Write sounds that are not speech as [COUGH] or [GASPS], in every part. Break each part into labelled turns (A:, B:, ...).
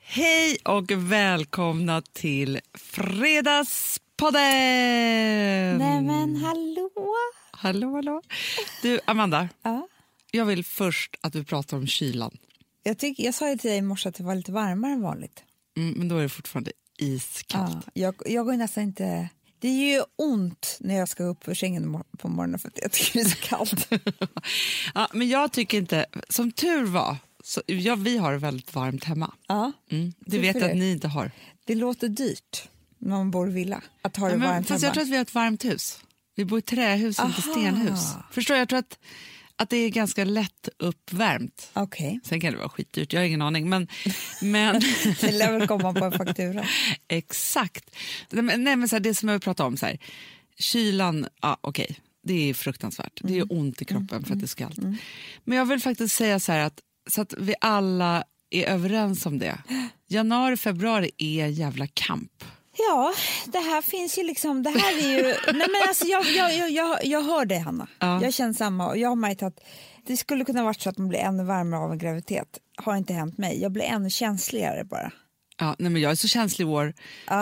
A: Hej och välkomna till Fredagspodden!
B: Nej men hallå!
A: Hallå, hallå. Du, Amanda,
B: Ja.
A: jag vill först att vi pratar om kylan.
B: Jag, tyck, jag sa ju till dig i morse att det var lite varmare än vanligt.
A: Mm, men då är det fortfarande iskallt.
B: Ja. Jag, jag går ju nästan inte... Det är ju ont när jag ska upp ur sängen mor- på morgonen för att jag tycker det är så
A: [LAUGHS]
B: kallt.
A: Ja, men jag tycker inte... Som tur var, så, ja, vi har det väldigt varmt hemma.
B: ja.
A: Mm, det
B: Tur
A: vet
B: för
A: jag
B: er.
A: att ni inte har.
B: Det låter dyrt när man bor i villa att ha det
A: Ja, men,
B: varmt
A: fast
B: hemma.
A: jag tror att vi har ett varmt hus. Vi bor i trähus, inte
B: Aha.
A: stenhus. Förstår, jag tror att, att det är ganska lätt uppvärmt.
B: Okej,
A: Sen kan det vara skitdyrt, jag har ingen aning. Men, men
B: det lär väl komma på en faktura.
A: exakt. Nej, men, nej, men så här, det som jag vill prata om, så här, kylan, ja, okej, det är fruktansvärt. Det är ont i kroppen för att det är så kallt. Men jag vill faktiskt säga så här att, så att vi alla är överens om det. Januari, februari är jävla kamp.
B: Ja, det här finns ju liksom... Det här är
A: [LAUGHS]
B: ju... Nej, men alltså, jag, jag, jag, jag, jag hör dig, Hanna.
A: Ja.
B: Jag känner samma. Och jag har märkt att det skulle kunna varit så att man blir ännu varmare av en graviditet. Har inte hänt mig. Jag blir ännu känsligare bara. [LAUGHS]
A: Ja, nej, men jag är så känslig i år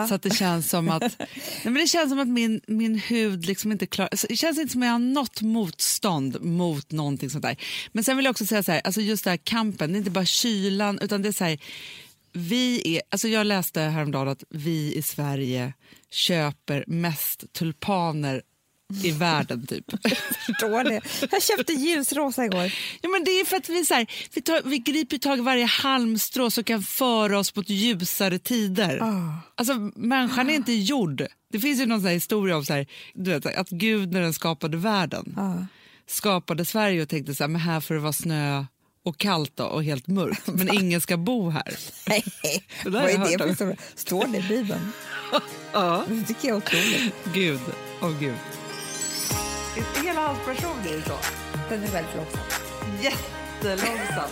A: så att det känns som att, nej, men det känns som att min, min hud liksom inte klarar... Alltså, det känns inte som att jag har något motstånd mot någonting sånt där. Men sen vill jag också säga så här, alltså just den här kampen, det är inte bara kylan utan det är så här, vi är, alltså jag läste häromdagen att vi i Sverige köper mest tulpaner i världen typ.
B: Förstår det. Jag köpte ljusrosa igår.
A: Ja, men det är för att vi, så här, vi, tar, vi griper tag i varje halmstrå som kan föra oss mot ljusare tider.
B: Ah.
A: Alltså, människan är inte gjord. Det finns ju någon sån här historia om så här, du vet, att Gud när den skapade världen [LAUGHS]
B: Ja.
A: skapade Sverige och tänkte så här, men här får det vara snö och kallt då, och helt mörkt, men [LAUGHS] ingen ska bo här.
B: Nej,
A: Det där
B: vad
A: har jag
B: är det
A: hört
B: för
A: om.
B: historia? Står det i Bibeln?
A: Ja.
B: Det tycker jag är otroligt.
A: Gud, åh Gud. Hela hans person är ju så.
B: Den är väldigt långsam.
A: [LAUGHS] jättelångsam.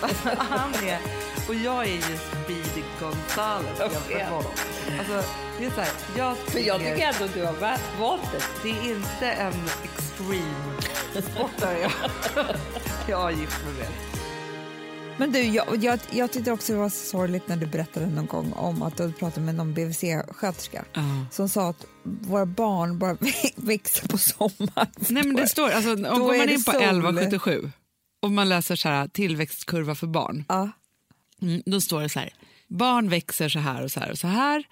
A: Han är, och jag är ju Speedy Gonzales jämfört med honom. Alltså, det är så här, jag tycker,
B: ändå du har valt
A: det
B: det.
A: är inte en extreme sportare jag, [LAUGHS] jag är gift med mig.
B: Men du, jag, jag, jag tyckte också det var så sorgligt när du berättade någon gång om att du hade pratat med någon BVC-sköterska som sa att våra barn bara [LAUGHS] växer på sommaren.
A: Nej men det står, alltså, om
B: Då
A: går
B: är
A: man
B: det
A: in på
B: sol.
A: 1177 och man läser så här tillväxtkurva för barn.
B: Ja.
A: Mm, då står det så här. Barn växer så här och så här och så här.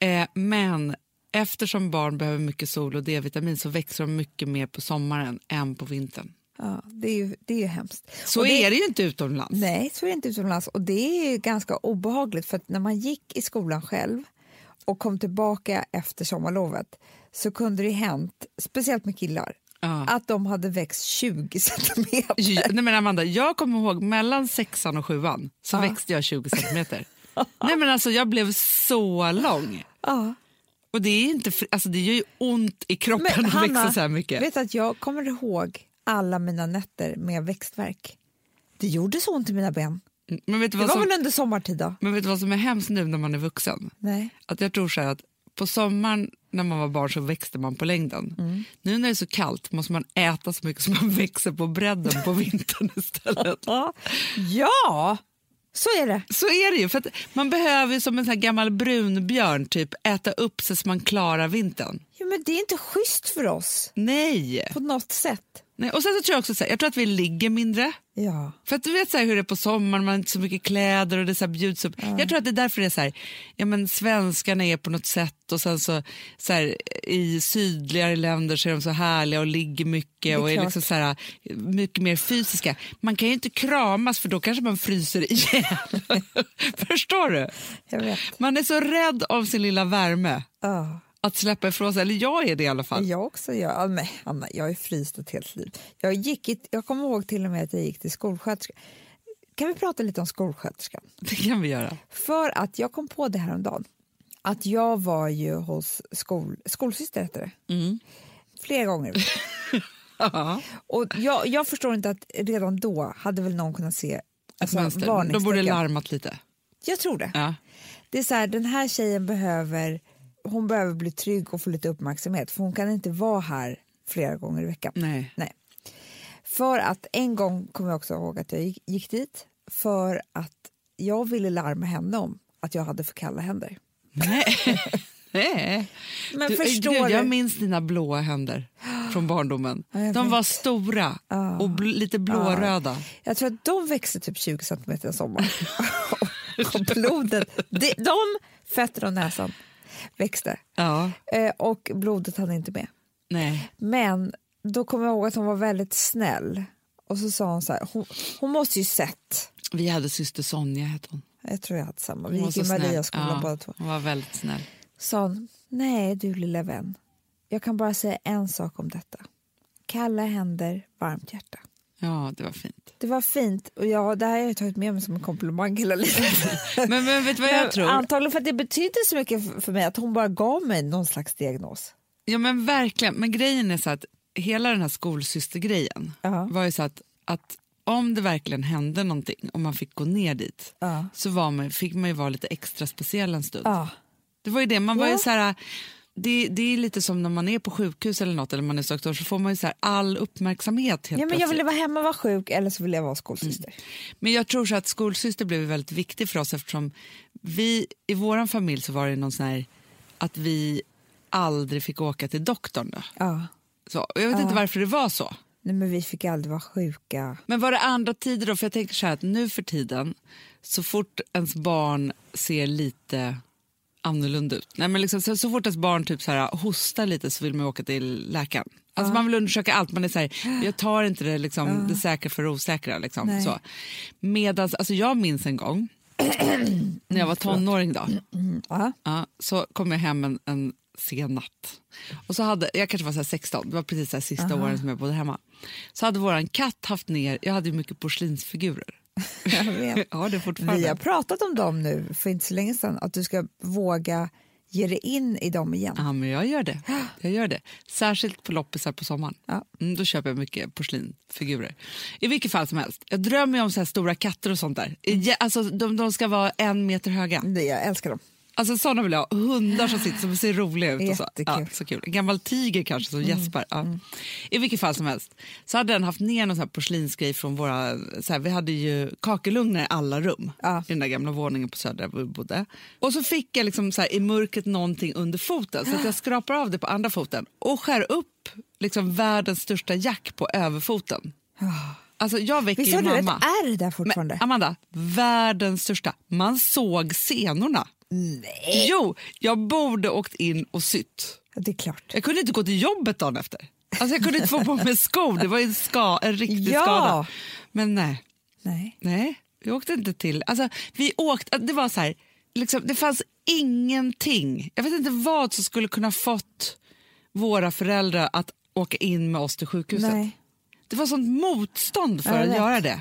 A: Eh, men eftersom barn behöver mycket sol och D-vitamin så växer de mycket mer på sommaren än på vintern.
B: Ja, det är ju, det är ju hemskt.
A: Så
B: Och det,
A: är det ju inte utomlands.
B: Nej, så är det inte utomlands. Och det är ju ganska obehagligt för att när man gick i skolan själv och kom tillbaka efter sommarlovet så kunde det ju hänt, speciellt med killar,
A: Ja.
B: att de hade växt 20 [LAUGHS] centimeter.
A: J- Nej, men Amanda, jag kommer ihåg mellan sexan och sjuan så växte jag 20
B: [LAUGHS]
A: centimeter. Nej, men alltså, jag blev så lång.
B: Ja.
A: Och det, är inte, fri- alltså, det gör ju ont i kroppen att växa så här mycket.
B: vet att jag kommer ihåg alla mina nätter med växtverk. Det gjorde så ont i mina ben.
A: Mm, men, vet du
B: Det
A: vad
B: var
A: som,
B: väl under sommartid då?
A: men vet du vad som är hemskt nu när man är vuxen?
B: Nej.
A: Att jag tror så här att på sommaren när man var barn så växte man på längden.
B: Mm.
A: Nu när det är så kallt måste man äta så mycket som man [LAUGHS] växer på bredden på vintern istället.
B: Ja. ja, så är det.
A: Så är det ju. För att man behöver ju som en sån här gammal brunbjörn typ, äta upp sig så man klarar vintern.
B: Jo, men det är inte schysst för oss
A: Nej!
B: på något sätt.
A: Nej. Och sen så tror jag också så här, jag tror att vi ligger mindre.
B: Ja.
A: För att du vet så här hur det är på sommaren, man har inte så mycket kläder och det så här bjuds upp. Jag tror att det är därför det är så här, ja men svenskarna är på något sätt och sen så, så här, i sydligare länder så är de så härliga och ligger mycket
B: är
A: och är
B: klart.
A: liksom så här, mycket mer fysiska. Man kan ju inte kramas för då kanske man fryser ihjäl. [LAUGHS] Förstår du?
B: Jag vet.
A: Man är så rädd av sin lilla värme
B: Ja.
A: att släppa ifrån sig, eller jag är det i alla fall.
B: Jag också. Jag, ja, men Anna, jag har ju fryst ett helt liv. Jag, gick i, jag kommer ihåg till och med att jag gick till skolsköterskan. Kan vi prata lite om skolsköterskan?
A: Det kan vi göra.
B: För att jag kom på det här om dagen. Att jag var ju hos skol, skolsyster heter det. Flera
A: [LAUGHS]
B: gånger.
A: Mm. Ja.
B: Och jag, jag förstår inte att redan då hade väl någon kunnat se
A: Ett
B: alltså,
A: mönster. De borde
B: varningstecken.
A: larmat lite.
B: Jag tror det.
A: Ja.
B: Det är så här, den här tjejen behöver, hon behöver bli trygg och få lite uppmärksamhet för hon kan inte vara här flera gånger i veckan.
A: Nej.
B: Nej. För att en gång kommer jag också ihåg att jag gick, gick dit för att jag ville larma henne om att jag hade för kalla händer.
A: Nej. Nej.
B: Men
A: du,
B: förstår
A: Gud, jag
B: du?
A: minns dina blåa händer från barndomen.
B: Ja, jag
A: De
B: vet.
A: var stora och bl- lite blåröda.
B: Jag tror att de växer typ 20 centimeter
A: [LAUGHS]
B: en sommar. och blodet, de, de fötterna och näsan växte.
A: Ja.
B: Eh, och blodet hann inte med.
A: Nej.
B: Men då kommer jag ihåg att hon var väldigt snäll. Och så sa hon så här, hon, hon måste ju sett.
A: Vi hade syster Sonja, hette hon.
B: Jag tror jag hade samma.
A: Hon
B: Vi
A: var
B: gick i
A: så snäll.
B: Mariaskolan
A: Ja,
B: båda två.
A: Hon var väldigt snäll.
B: Sa hon, nej du lilla vän. Jag kan bara säga en sak om detta. Kalla händer, varmt hjärta.
A: Ja, det var fint.
B: Det var fint och jag, det här har jag tagit med mig som en komplimang hela livet.
A: [LAUGHS] Men, men vet du vad jag
B: Men
A: tror?
B: Antagligen för att det betydde så mycket f- för mig att hon bara gav mig någon slags diagnos.
A: Ja, men verkligen. Men grejen är så att hela den här skolsystergrejen
B: Ja.
A: var ju så att, att om det verkligen hände någonting och man fick gå ner dit
B: Ja.
A: så var man, fick man ju vara lite extra speciell en stund.
B: Ja.
A: Det var ju det, man var ju
B: Ja.
A: så här, det, det är lite som när man är på sjukhus eller något eller man är doktor så får man ju så här all uppmärksamhet helt
B: Ja, men jag
A: plötsligt.
B: ville
A: Mm.
B: vara hemma och vara sjuk eller så ville jag vara skolsyster.
A: Men jag tror så att skolsyster blev väldigt viktig för oss eftersom vi, i vår familj så var det någon sån här att vi aldrig fick åka till doktorn. Då.
B: Ja.
A: Så, och jag vet inte varför det var så.
B: Nej, men vi fick aldrig vara sjuka.
A: Men var det andra tider då? För jag tänker så här att nu för tiden, så fort ens barn ser lite annorlunda ut. Nej, men liksom, så, så fort ens barn typ så här, hostar lite så vill man ju åka till läkaren. Alltså Man vill undersöka allt. Man är så här, jag tar inte det, liksom, det säkra för det osäkra. Liksom,
B: Nej.
A: så. Medans, alltså jag minns en gång [CLEARS THROAT] när jag var tonåring. Då,
B: Ja.
A: Ja, så kom jag hem en, en sen natt. Och så hade, jag kanske var så här 16, det var precis så här sista åren som jag bodde hemma. Så hade våran katt haft ner, jag hade ju mycket porslinsfigurer. [LAUGHS]
B: Jag vet.
A: [LAUGHS] Jag har det
B: Vi har
A: fortfarande.
B: pratat om dem nu för inte så länge sedan, att du ska våga ge dig in i dem igen.
A: Ja, men jag gör det. Jag gör det. Särskilt på loppisar på sommaren.
B: Ja.
A: Mm, då köper jag mycket porslinfigurer. I vilket fall som helst, jag drömmer ju om så här stora katter och sånt där. Ja, Alltså, de, de ska vara en meter höga.
B: Nej, Jag älskar dem.
A: Alltså sådana vill jag ha. Hundar som sitter som ser roliga ut. Och så.
B: Jättekul. Mm,
A: Ja, så kul. En gammal tiger kanske som gäspar. Ja. I vilket fall som helst så hade den haft ner någon sån här porslinsgrej från våra... Så här, vi hade ju kakelugnar i alla rum
B: Ja.
A: i den där gamla våningen på Söder där vi bodde. Och så fick jag liksom så här, i mörkret någonting under foten så att jag skrapar av det på andra foten och skär upp liksom världens största jack på överfoten. Alltså jag väcker
B: Visst
A: ju
B: har du ett
A: mamma.
B: ärr där
A: Men
B: fortfarande?
A: Amanda, världens största. Man såg senorna. Nej. Jo, jag borde åkt in och sytt.
B: Ja, det är klart.
A: Jag kunde inte gå till jobbet dagen efter. Alltså jag kunde inte få på mig skor, det var ju en, ska, en riktig
B: Ja.
A: skada. Men nej,
B: Nej.
A: nej, vi åkte inte till... Alltså, vi åkte, det var så här, liksom, det fanns ingenting. Jag vet inte vad som skulle kunna fått våra föräldrar att åka in med oss till sjukhuset.
B: Nej.
A: Det var sånt motstånd för
B: Jag
A: att
B: vet.
A: göra det.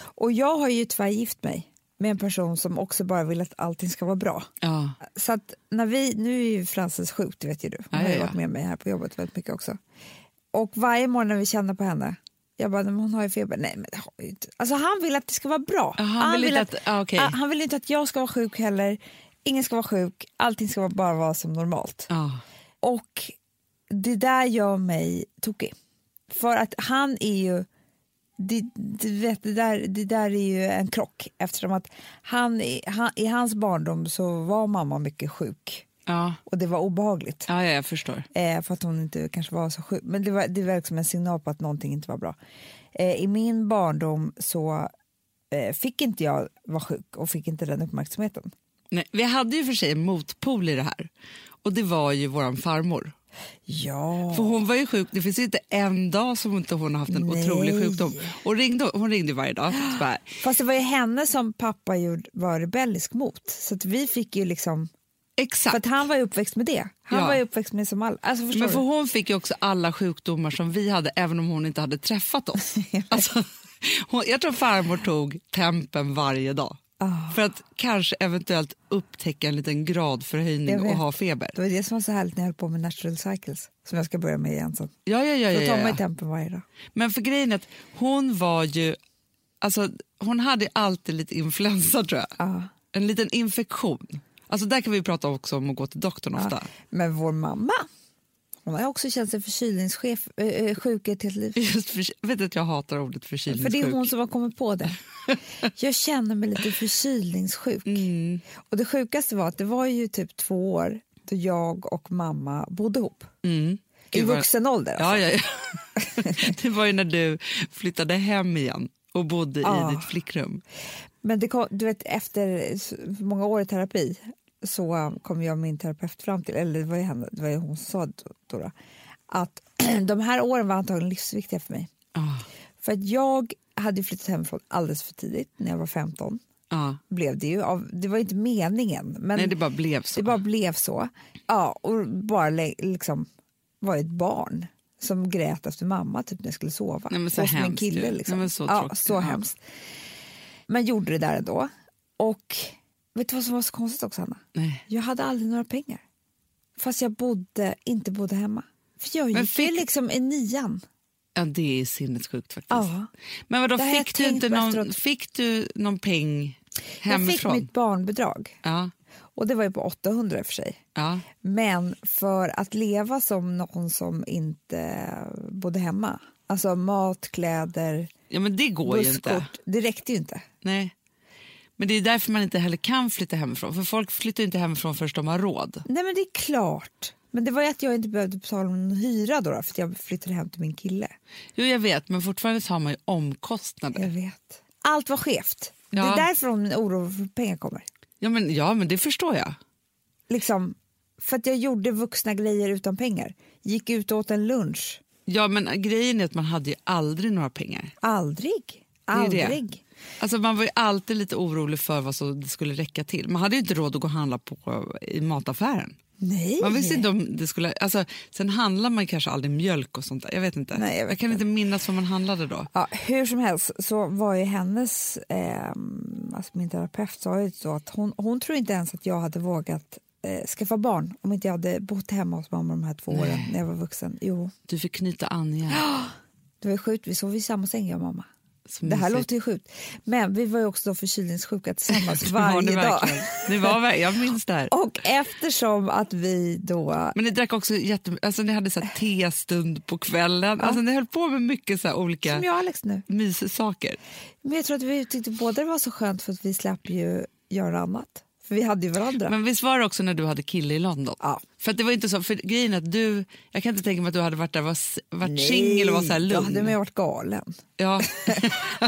B: Och jag har ju tyvärr gift mig med en person som också bara vill att allting ska vara bra.
A: Ja.
B: Så att när vi, nu är ju Frances sjuk, det vet ju du. Hon
A: Ja,
B: har ju
A: ja, ja.
B: varit med mig här på jobbet väldigt mycket också. Och varje morgon när vi känner på henne, jag bara, "Nej, men hon har ju feber. Nej, men det har ju inte. Alltså han vill att det ska vara bra.
A: Ja, han vill inte att- ja, okej.
B: ah, han vill inte att jag ska vara sjuk heller. Ingen ska vara sjuk. Allting ska vara- bara vara som normalt.
A: ja.
B: Och det där gör mig tokig. För att han är ju... Det, du vet, det, där, det där är ju en krock eftersom att han, i- han, i hans barndom så var mamma mycket sjuk
A: Ja,
B: och det var obehagligt
A: ja, ja jag förstår.
B: eh, för att hon inte kanske var så sjuk. Men det var, det var liksom en signal på att någonting inte var bra. Eh, I min barndom så eh, fick inte jag vara sjuk och fick inte den uppmärksamheten.
A: Nej, vi hade ju för sig en motpol i det här. Och det var ju våran farmor.
B: Ja,
A: För hon var ju sjuk, det finns ju inte en dag som inte hon har haft en
B: Nej.
A: otrolig sjukdom. Och ringde, hon ringde ju varje dag. Så bara,
B: Fast det var ju henne som pappa gjorde, var rebellisk mot. Så att vi fick ju liksom... För
A: exakt.
B: att han var ju uppväxt med det. Han
A: Ja.
B: var ju uppväxt med som alla. Alltså förstår
A: Men för
B: du?
A: hon fick ju också alla sjukdomar som vi hade, även om hon inte hade träffat
B: [LAUGHS]
A: oss. Alltså, hon, jag tror farmor tog tempen varje dag.
B: Ah.
A: För att kanske eventuellt upptäcka en liten gradförhöjning
B: Jag
A: och
B: vet.
A: ha feber.
B: Det var det som var så härligt när jag höll på med natural cycles. Som jag ska börja med igen sen.
A: Ja, ja, ja,
B: Då
A: ja, ja,
B: tar man
A: ja.
B: ju tempen varje dag.
A: Men för grejen är att hon var ju, alltså hon hade ju alltid lite influensa tror jag.
B: Ja.
A: En liten infektion. Alltså där kan vi prata också om att gå till doktorn ofta.
B: Men vår mamma, De har också känt sig förkylningschef, äh, sjuk ett helt liv.
A: [LAUGHS] Just för, vet att jag hatar ordet
B: För
A: förkylningssjuk.
B: det är hon som har kommit
A: [LAUGHS]
B: på det. Jag känner mig lite förkylningssjuk.
A: Mm.
B: Och det sjukaste var att det var ju typ två år då jag och mamma bodde ihop.
A: Mm.
B: I
A: Gud, vad-
B: vuxen ålder. Alltså.
A: Ja, [LAUGHS] ja, ja. Det var ju när du flyttade hem igen och bodde
B: Ah.
A: i ditt flickrum.
B: Men det kom, du vet, efter s- många år i terapi så um, kom jag och min terapeut fram till, eller det var ju, henne, det var ju hon som sa då, då, då, att [CLEARS THROAT] de här åren var antagligen livsviktiga för mig.
A: Ah,
B: För att jag hade ju flyttat hemifrån alldeles för tidigt, när jag var 15.
A: ah.
B: Blev det, ju av, det var ju inte meningen, men
A: Nej, det
B: det,
A: bara blev så.
B: bara blev så. Ja, och bara le- liksom var ett barn som grät efter mamma typ när jag skulle sova.
A: Nej, men så
B: Hos min
A: hemskt ju.
B: kille.
A: Nej,
B: Liksom.
A: men så
B: ja,
A: tråkigt.
B: så
A: Ja.
B: hemskt. Men gjorde det där ändå. Och vet du vad som var så konstigt också, Hanna?
A: Nej.
B: Jag hade aldrig några pengar. Fast jag bodde, inte bodde hemma. För jag
A: Men
B: gick ju
A: fick-
B: liksom i nian.
A: Ja, det är sinnessjukt faktiskt.
B: Ja.
A: Men vadå,
B: Det här har jag
A: fick, du
B: tänkt
A: inte
B: på
A: någon,
B: efteråt.
A: fick du någon peng
B: Jag fick
A: hemifrån?
B: mitt barnbidrag.
A: Ja,
B: Och det var ju på 800 i och för sig.
A: ja.
B: Men för att leva som någon som inte bodde hemma, alltså mat, kläder,
A: ja, men det går ju inte.
B: busskort, det räckte ju inte.
A: Nej. Men det är därför man inte heller kan flytta hemifrån. För folk flyttar ju inte hemifrån först de har råd.
B: Nej men det är klart. Men det var ju att jag inte behövde betala någon hyra då, då för att jag flyttade hem till min kille.
A: Jo, jag vet, men fortfarande så har man ju omkostnader.
B: Jag vet. Allt var skevt. Det
A: Ja.
B: är därifrån min oro för pengar kommer.
A: Ja, men, ja, men det förstår jag.
B: Liksom, för att jag gjorde vuxna grejer utan pengar. Gick ut och åt en lunch.
A: Ja, men grejen är att man hade ju aldrig några pengar.
B: Aldrig.
A: är det.
B: Aldrig.
A: Alltså man var ju alltid lite orolig för vad som det skulle räcka till. Man hade ju inte råd att gå och handla på, i mataffären.
B: Nej.
A: Man visste inte om det skulle... Alltså, sen handlar man ju kanske aldrig mjölk och sånt där. Jag vet inte.
B: Nej, jag vet
A: kan inte minnas vad man handlade då.
B: Ja, hur som helst så var ju hennes, eh, alltså min terapeut sa ju så att hon, hon tror inte ens att jag hade vågat eh, skaffa barn om inte jag hade bott hemma hos mamma de här två åren när jag var vuxen. Jo,
A: Du fick knyta an
B: [GASPS]
A: igen.
B: det var ju sjukt, vi sov i samma säng jag och mamma.
A: Som
B: det här
A: mysigt.
B: låter ju sjukt. Men vi var ju också då förkylningssjuka tillsammans
A: [LAUGHS] Ja,
B: varje
A: det
B: dag.
A: verkligen. Det var, ver- jag minns det här.
B: [LAUGHS] Och eftersom att vi då...
A: Men ni drack också jätte... Alltså ni hade så här testund på kvällen. Alltså ni höll på med mycket så här olika
B: Som jag och Alex nu.
A: myssaker.
B: Men jag tror att vi tyckte båda det var så skönt för att vi slapp ju göra annat. För vi hade ju varandra.
A: Men visst var det också när du hade kille i London?
B: Ja.
A: För att det var inte så, för grejen är att du, jag kan inte tänka mig att du hade varit där var, varit
B: Nej,
A: singel och var så här
B: Då
A: lugn.
B: hade man ju varit galen.
A: ja.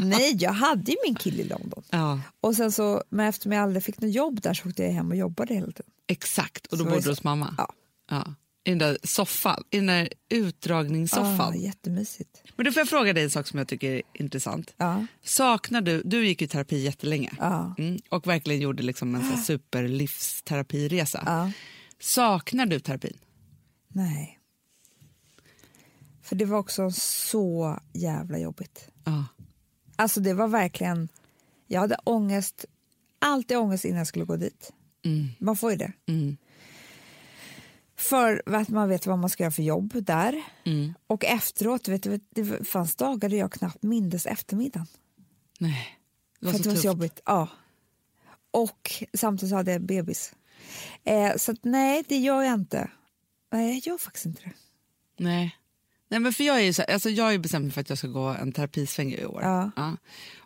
B: Nej, jag hade ju min kille i London.
A: ja,
B: Och sen så, men eftersom jag aldrig fick något jobb där så åkte jag hem och jobbade hela tiden.
A: exakt. Och då
B: Så var det
A: bodde
B: så.
A: du hos mamma?
B: Ja.
A: Ja. I den där soffan, i den där
B: Ah,
A: utdragningssoffan.
B: jättemysigt.
A: Men då får jag fråga dig en sak som jag tycker är intressant.
B: Ja.
A: Saknar du, du gick ju i terapi jättelänge
B: Ja. Ah.
A: mm, och verkligen gjorde liksom en så här superlivsterapiresa.
B: Ja.
A: Saknar du terapin?
B: Nej. För det var också så jävla jobbigt.
A: Ja.
B: Alltså det var verkligen, jag hade ångest, alltid ångest innan jag skulle gå dit.
A: Mm.
B: Man får ju det.
A: Mm.
B: För att man vet vad man ska göra för jobb där.
A: Mm.
B: Och efteråt, vet du, det fanns dagar då jag knappt mindes eftermiddagen.
A: Nej. Det var så
B: För att det var
A: tufft.
B: så jobbigt. Ja. Och samtidigt så hade jag bebis. Eh, så att, nej, det gör jag inte. Nej, jag gör faktiskt inte det.
A: Nej. Nej, men för jag är ju så, alltså jag är ju bestämt mig för att jag ska gå en terapisväng i år.
B: Ja.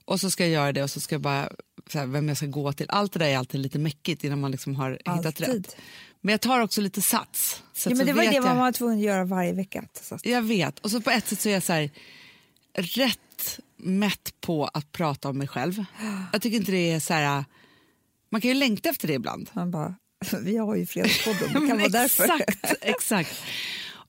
A: Och så ska jag göra det och så ska jag bara, så här, vem jag ska gå till. Allt det där är alltid lite mäckigt innan man liksom har hittat
B: Alltid.
A: rätt. Men jag tar också lite sats. Så
B: Ja,
A: att
B: men det
A: så
B: var ju
A: vet
B: det man
A: jag,
B: var tvungen att göra varje vecka. Så att,
A: jag vet. Och så på ett sätt så är jag så här, rätt mätt på att prata om mig själv. Jag tycker inte det är så här, man kan ju längta efter det ibland.
B: man bara, [LAUGHS] vi har
A: [LAUGHS]
B: ju Fredagspodden, det
A: Ja, [LAUGHS]
B: kan
A: men
B: vara
A: [LAUGHS]
B: därför.
A: Exakt, exakt.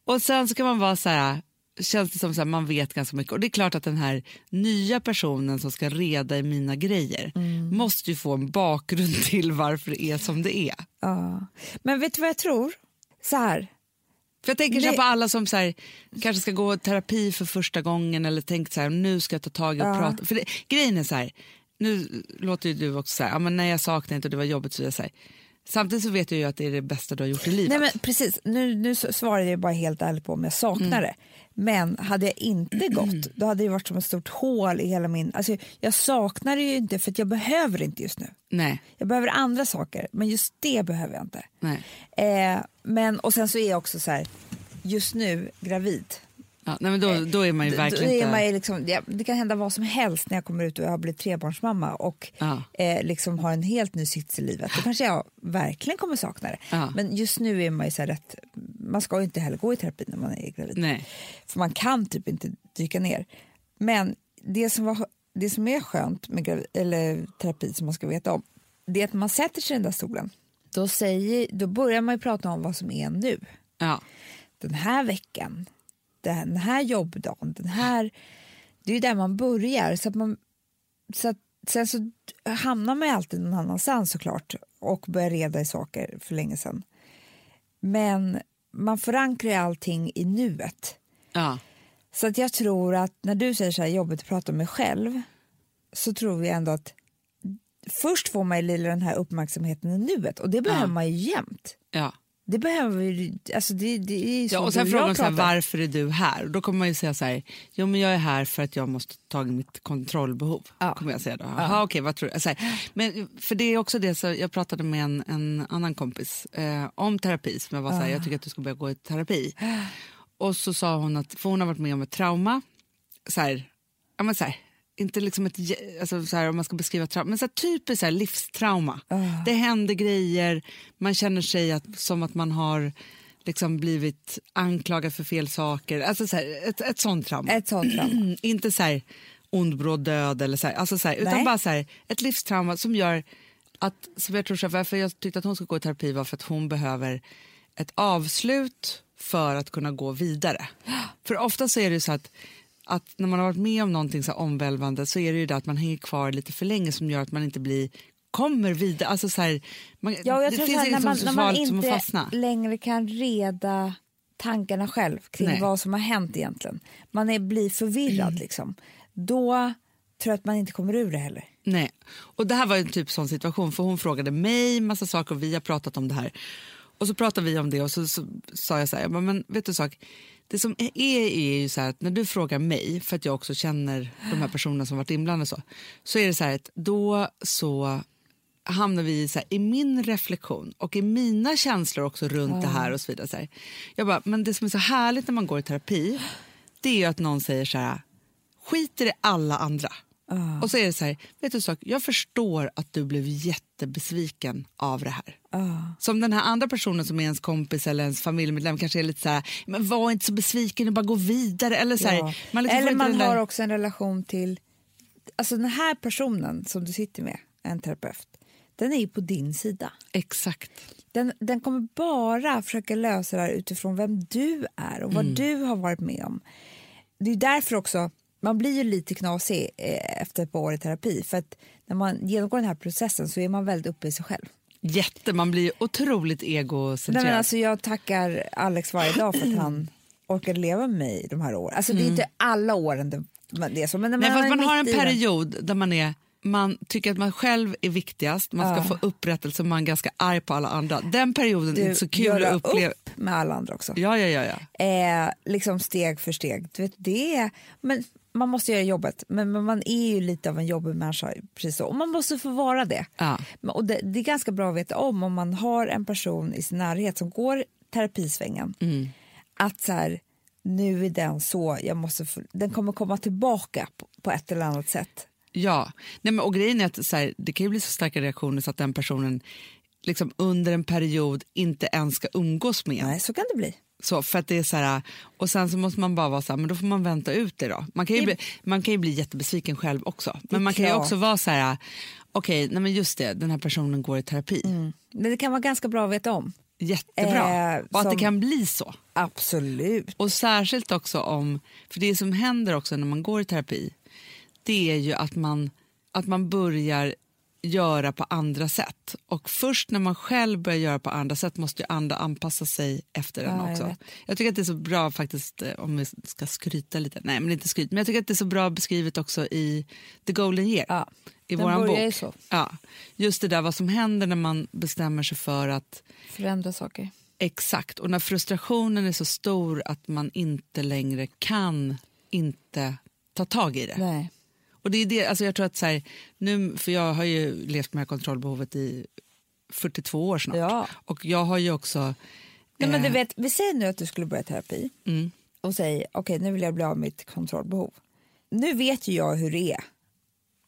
A: Och sen så kan man vara så här, känns det som så här, man vet ganska mycket. Och det är klart att den här nya personen som ska reda i mina grejer måste ju få en bakgrund [LAUGHS] till varför det är som det är.
B: Ja. Men vet du vad jag tror? Så här,
A: För jag tänker så här
B: Nej.
A: på alla som så här, kanske ska gå i terapi för första gången eller tänkt så här, nu ska jag ta tag i och
B: Ja.
A: prata. För det, grejen är så här, nu låter ju du också så här, ja, men när jag saknar inte och det var jobbigt så är jag så här. Samtidigt så vet jag ju att det är det bästa du har gjort i livet.
B: nej men precis, nu, nu så- svarar jag bara helt ärligt på om jag saknar
A: Mm.
B: det. Men hade
A: [CLEARS THROAT]
B: jag inte gått, då hade det varit som ett stort hål i hela min... Alltså, jag saknar det ju inte för att jag behöver det inte just nu.
A: Nej,
B: Jag behöver andra saker, men just det behöver jag inte.
A: nej.
B: Eh, men, och sen så är jag också så här, just nu gravid.
A: Ja, nej, men då, då är man ju
B: Då-
A: verkligen
B: då är
A: inte...
B: man ju liksom, ja, det kan hända vad som helst när jag kommer ut och jag har blivit trebarnsmamma och
A: Ja.
B: eh, liksom har en helt ny sits i livet. Då kanske jag verkligen kommer sakna det.
A: Ja.
B: Men just nu är man ju så här rätt, man ska ju inte heller gå i terapi när man är gravid.
A: Nej.
B: För man kan typ inte dyka ner. Men det som, var, det som är skönt med gravi, eller terapi som man ska veta om, det är att man sätter sig i den där stolen. Då, säger, då börjar man ju prata om vad som är nu
A: Ja.
B: den här veckan, den här jobbdagen, den här... Det är ju där man börjar. Så att man, så att, sen så hamnar man ju alltid någon annanstans såklart och börjar reda i saker för länge sedan. Men man förankrar ju allting i nuet.
A: Ja.
B: Så att jag tror att när du säger så här jobbigt att prata om mig själv så tror jag ändå att först får man ju lite den här uppmärksamheten i nuet och det behöver
A: Ja.
B: man ju jämt.
A: Ja.
B: Det behöver ju, alltså det, det är ju så
A: Ja, och sen
B: du
A: frågar
B: jag
A: de så här,
B: pratar.
A: varför är du här? Och då kommer man ju säga så här, jo men jag är här för att jag måste ta tag i mitt kontrollbehov.
B: Ja.
A: Kommer jag säga då. Jaha, okej, vad tror du? Så här, men, för det är också det, så jag pratade med en, en annan kompis eh, om terapi, som jag var så här,
B: Ah.
A: jag tycker att du ska börja gå i terapi. Och så sa hon att, för hon har varit med om ett trauma, så här, ja men så här, inte liksom ett, jä- alltså så här, om man ska beskriva trauma, men så här, typiskt så här, livstrauma. Det händer grejer, man känner sig att, som att man har liksom blivit anklagad för fel saker. Alltså så här, ett, ett sånt trauma.
B: Ett sånt
A: [CLEARS THROAT]
B: trauma.
A: inte så här ond, bråd, död eller så här, alltså så här,
B: Nej.
A: utan bara så här, ett livstrauma som gör att, som jag tror så här, varför jag tyckte att hon skulle gå i terapi var för att hon behöver ett avslut för att kunna gå
B: [GASPS]
A: vidare. För ofta så är det ju så att, att när man har varit med om någonting så här omvälvande så är det ju det att man hänger kvar lite för länge som gör att man inte blir kommer vidare, alltså så här, man,
B: Ja, och jag
A: det
B: tror
A: finns
B: så här,
A: inget
B: när
A: som
B: man, när man
A: socialt som att
B: inte
A: fastna.
B: längre kan reda tankarna själv kring
A: Nej. Mm.
B: vad som har hänt egentligen. Man är, blir förvirrad liksom. Då tror jag att man inte kommer ur det heller.
A: Nej. Och det här var ju en typ sån situation för hon frågade mig massa saker och vi har pratat om det här. Och så pratade vi om det och så, så sa jag så här, jag bara, men vet du en sak, det som är, är ju så här att när du frågar mig, för att jag också känner de här personerna som varit inblandade så, så är det så här att då så hamnar vi i så här, i min reflektion och i mina känslor också runt det här och så vidare. Så här. Jag bara, men det som är så härligt när man går i terapi, det är ju att någon säger så här, skiter i alla andra.
B: Ah.
A: Och så är det så här, vet du en sak, jag förstår att du blev jättebesviken av det här.
B: Ah.
A: Som den här andra personen som är ens kompis eller ens familjemedlem kanske är lite så här, men var inte så besviken och bara gå vidare. Eller, så här,
B: Ja.
A: liksom får
B: Eller
A: inte
B: man
A: den där-
B: har också en relation till... Alltså den här personen som du sitter med, en terapeut, den är ju på din sida.
A: Exakt.
B: Den, den kommer bara försöka lösa det här utifrån vem du är och
A: Mm.
B: vad du har varit med om. Det är därför också, man blir ju lite knasig eh, efter ett par år i terapi för att när man genomgår den här processen så är man väldigt uppe i sig själv.
A: Jätte, man blir ju otroligt
B: Nej,
A: egocentrerad.
B: men alltså, jag tackar Alex varje dag för
A: [CLEARS THROAT]
B: att han orkade leva med mig de här åren. Alltså det är inte alla åren det, men det är så. Men när
A: Mm. Nej, fast
B: är
A: man har en
B: mitt i den-
A: period där man är man tycker att man själv är viktigast, man ska få upprättelse och man är ganska arg på alla andra. Den perioden är
B: Ah. du,
A: inte så kul
B: göra
A: att uppleva.
B: upp med alla andra också.
A: Ja, ja, ja, ja.
B: eh, liksom steg för steg. Du vet, det är, men man måste göra jobbet, men, men man är ju lite av en jobbig människa. Precis så. Och man måste få vara det.
A: Ja.
B: Men- Och det. Det är ganska bra att veta om, om man har en person i sin närhet som går terapisvängen,
A: Mm.
B: att så här, nu är den så, jag måste få, den kommer komma tillbaka på, på ett eller annat sätt.
A: Ja, Nej, men, och grejen är att så här, det kan ju bli så starka reaktioner så att den personen liksom under en period inte ens ska umgås med en.
B: Nej, så kan det bli.
A: Så, för att det är så här, och sen så måste man bara vara så här, men då får man vänta ut det då. Man kan ju,
B: Det-
A: bli, man kan ju bli jättebesviken själv också.
B: är
A: Men man kan ju
B: klart.
A: också vara så här, okej, nej men just det, den här personen går i terapi.
B: Mm. Men det kan vara ganska bra att veta om.
A: Jättebra.
B: Eh,
A: och att
B: som-
A: det kan bli så.
B: Absolut.
A: Och särskilt också om, för det som händer också när man går i terapi, det är ju att man, att man börjar göra på andra sätt. Och först när man själv börjar göra på andra sätt måste ju andra anpassa sig efter den
B: Ja, jag
A: också. Jag,
B: vet.
A: tycker att det är så bra faktiskt, eh, om vi ska skryta lite, nej men inte skryt, men jag tycker att det är så bra beskrivet också i The Golden Year,
B: Ja,
A: i
B: den
A: våran
B: börjar ju
A: bok.
B: så.
A: Ja, just det där vad som händer när man bestämmer sig för att
B: Förändra saker.
A: Exakt, och när frustrationen är så stor att man inte längre kan inte ta tag i det.
B: Nej.
A: Och det är det, alltså jag tror att så här, nu, för jag har ju levt med det här kontrollbehovet i 42 år snart.
B: Ja.
A: Och jag har ju också eh,
B: Nej, men du vet, vi säger nu att du skulle börja terapi
A: mm.
B: och säger okej nu vill jag bli av med mitt kontrollbehov. Nu vet ju jag hur det är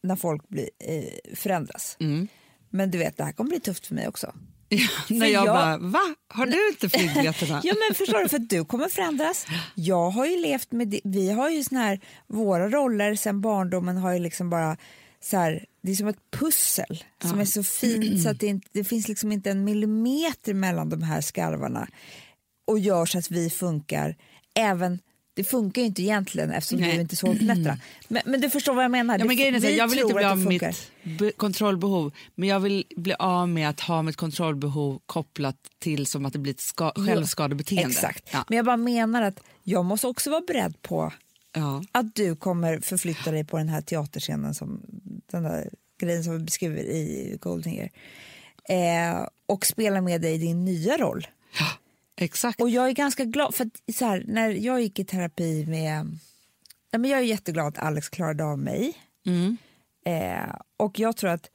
B: när folk blir, eh, förändras.
A: Mm.
B: Men du vet, det här kommer bli tufft för mig också.
A: [LAUGHS] Ja, när jag,
B: jag-
A: bara, va? Har du inte flygbiljetterna?
B: [LAUGHS] Ja men förstår du, för att du kommer förändras. Jag har ju levt med det. vi har ju sån här, våra roller sen barndomen har ju liksom bara så här, det är som ett pussel som är så
A: Mm.
B: fint så att det, inte, det finns liksom inte en millimeter mellan de här skarvarna och gör så att vi funkar även det funkar ju inte egentligen eftersom
A: Nej. Mm.
B: du inte såg nätterna. Men, men du förstår vad jag menar.
A: Ja,
B: Det-
A: men grejen är så här,
B: vi
A: jag vill
B: tror
A: inte bli
B: att
A: av
B: det
A: med
B: funkar.
A: mitt be- kontrollbehov men jag vill bli av med att ha mitt kontrollbehov kopplat till som att det blir ett ska- självskadebeteende.
B: Exakt.
A: Ja.
B: Men jag bara menar att jag måste också vara beredd på
A: Ja.
B: att du kommer förflytta dig på den här teaterscenen som den där grejen som vi beskriver i Goldfinger eh, och spela med dig i din nya roll.
A: Exakt.
B: Och jag är ganska glad för att så här, när jag gick i terapi med, nej men jag är jätteglad att Alex klarade av mig Mm. eh, och jag tror att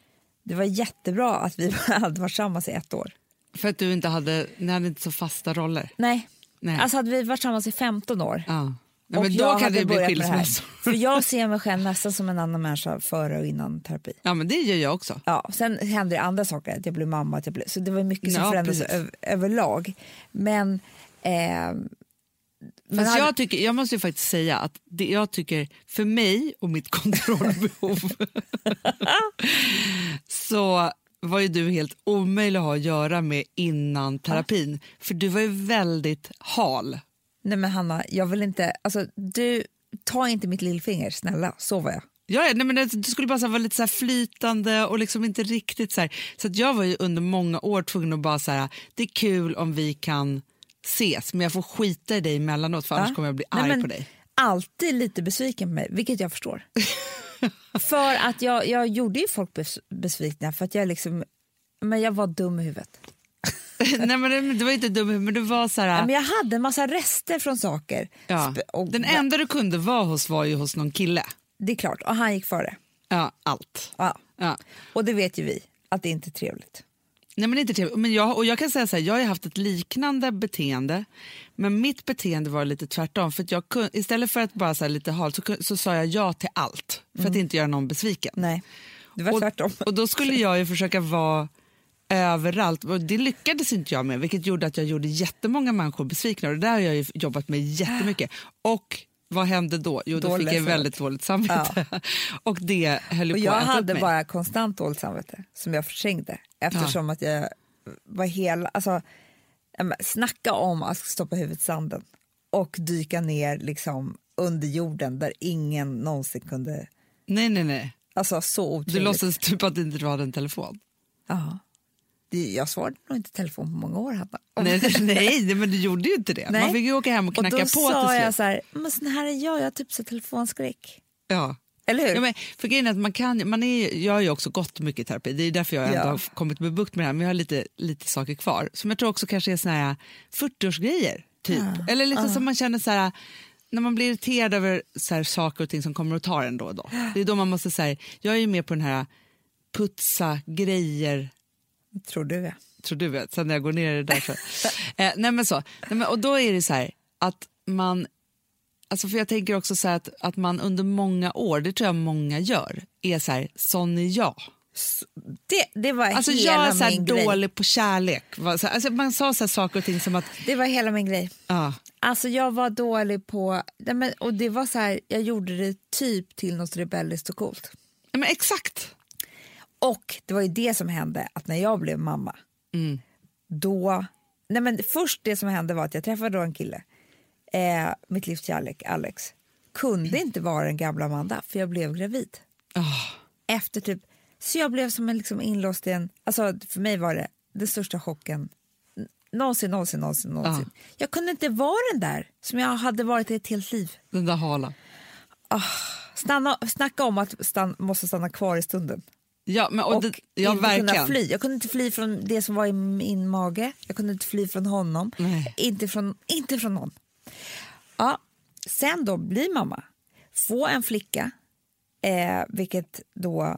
B: det var jättebra att vi [LAUGHS] hade varit tillsammans i ett år.
A: För att du inte hade, ni hade inte så fasta roller.
B: Nej.
A: Nej.
B: alltså hade vi varit tillsammans i 15 år
A: Ja. Nej,
B: och
A: men
B: jag
A: då kan
B: hade
A: det bli
B: börjat med här.
A: skilsmässor.
B: För jag ser mig själv nästan som en annan människa före och innan terapi.
A: Ja, men det gör jag också.
B: Ja, sen hände det andra saker, att jag blev mamma, att jag blev, så det var mycket som
A: Ja,
B: förändrades
A: precis.
B: över, överlag. Men, eh, men
A: Fast
B: hade-
A: jag, tycker, jag måste ju faktiskt säga att det jag tycker, för mig och mitt [LAUGHS] kontrollbehov [LAUGHS] så var ju du helt omöjlig att ha att göra med innan terapin. För du var ju väldigt hal.
B: nej men Hanna, jag vill inte, alltså du, ta inte mitt lillfinger, snälla, så var jag.
A: Ja, ja, nej, men alltså, det- du skulle bara så här, vara lite så här flytande och liksom inte riktigt så här. Så att jag var ju under många år tvungen att bara så här, det är kul om vi kan ses men jag får skita i dig emellanåt för annars
B: Ja.
A: kommer jag bli
B: Nej,
A: arg
B: men
A: på dig. [LAUGHS]
B: Alltid lite besviken på mig, vilket jag förstår. för att jag, jag gjorde ju folk bes, besvikna för att jag liksom, men jag var dum i huvudet.
A: nej, men det, det var inte dum men du var så här...
B: Men jag hade en massa rester från saker.
A: Ja.
B: Sp- Och,
A: Den enda du kunde vara hos var ju hos någon kille.
B: Det är klart, och han gick före.
A: Ja, allt.
B: Ja.
A: Ja.
B: Och det vet ju vi, att det inte är trevligt.
A: Nej, men inte trevligt. Men jag, och jag kan säga så här, jag har ju haft ett liknande beteende, men mitt beteende var lite tvärtom. För att jag kun, istället för att bara så här lite halt så, kun- så sa jag ja till allt för
B: Mm.
A: att inte göra någon besviken.
B: Nej, det var tvärtom.
A: Och, och då skulle jag ju försöka vara överallt. Och det lyckades inte jag med, vilket gjorde att jag gjorde jättemånga människor besvikna. Och det där har jag ju jobbat med jättemycket. Och vad hände då? Jo, då
B: Dåligt
A: fick jag
B: samvete.
A: väldigt dåligt samvete. [LAUGHS] Och det höll ju
B: Och
A: på
B: jag
A: att äta upp
B: hade
A: mig.
B: bara konstant dåligt samvete som jag förträngde eftersom att jag var hel... Alltså, ja, men snacka om att stoppa huvudet i sanden och dyka ner liksom under jorden där ingen någonsin kunde...
A: Nej, nej, nej.
B: Alltså så
A: Du
B: otroligt.
A: låtsades typ att inte du hade en telefon.
B: Ja. Det- Jag svarade nog inte i telefon på många år, Hanna.
A: Nej, [LAUGHS] nej, nej, men du gjorde ju inte det. Man
B: Nej.
A: fick ju åka hem och knacka
B: och då
A: på
B: sa
A: till
B: jag
A: slut.
B: så här, men sån här är jag, jag har typ så telefonskräck.
A: Ja.
B: Eller hur?
A: Ja, men för grejen är att man kan, man är, jag har ju också gått mycket i terapi, det är därför jag ändå
B: Ja.
A: har f- kommit med bukt med det här, men jag har lite, lite saker kvar som jag tror också kanske är såna här 40-årsgrejer, typ. Eller liksom som man känner så här, när man blir irriterad över så här, saker och ting som kommer och tar en då och då. Det är då man måste säga, jag är ju med på den här putsa grejer
B: Tror du ja.
A: tror du vet, sen när jag går ner i det där. Så. eh, nej men så. Nej, men, och då är det så här att man, alltså för jag tänker också så här att, att man under många år, det tror jag många gör, är så här, sån är jag.
B: Det, det var
A: Alltså
B: hela
A: jag är så här
B: min grej.
A: dålig på kärlek. Va, så här, Alltså, man sa så här saker och ting som att,
B: Det var hela min grej.
A: ja,
B: Alltså jag var dålig på, nej men, och det var så här, jag gjorde det typ till något rebelliskt och coolt.
A: ja, men exakt.
B: Och det var ju det som hände att när jag blev mamma,
A: Mm.
B: då, nej men först det som hände var att jag träffade då en kille, eh, mitt livs kärlek, Alex, kunde
A: Mm.
B: inte vara den gamla Amanda för jag blev gravid.
A: Ah,
B: efter typ, så jag blev som en liksom inlåst i en, alltså för mig var det den största chocken n- någonsin, någonsin, någonsin, någonsin. Jag kunde inte vara den där som jag hade varit i ett helt liv.
A: den där hala.
B: Stanna, snacka om att stan, måste stanna kvar i stunden.
A: Ja, men, och
B: Och,
A: det, ja,
B: inte kunna
A: verkligen.
B: fly. Jag kunde inte fly från det som var i min mage. Jag kunde inte fly från honom.
A: Nej.
B: Inte från, inte från någon. Ja, sen då bli mamma. Få en flicka, eh, vilket då eh,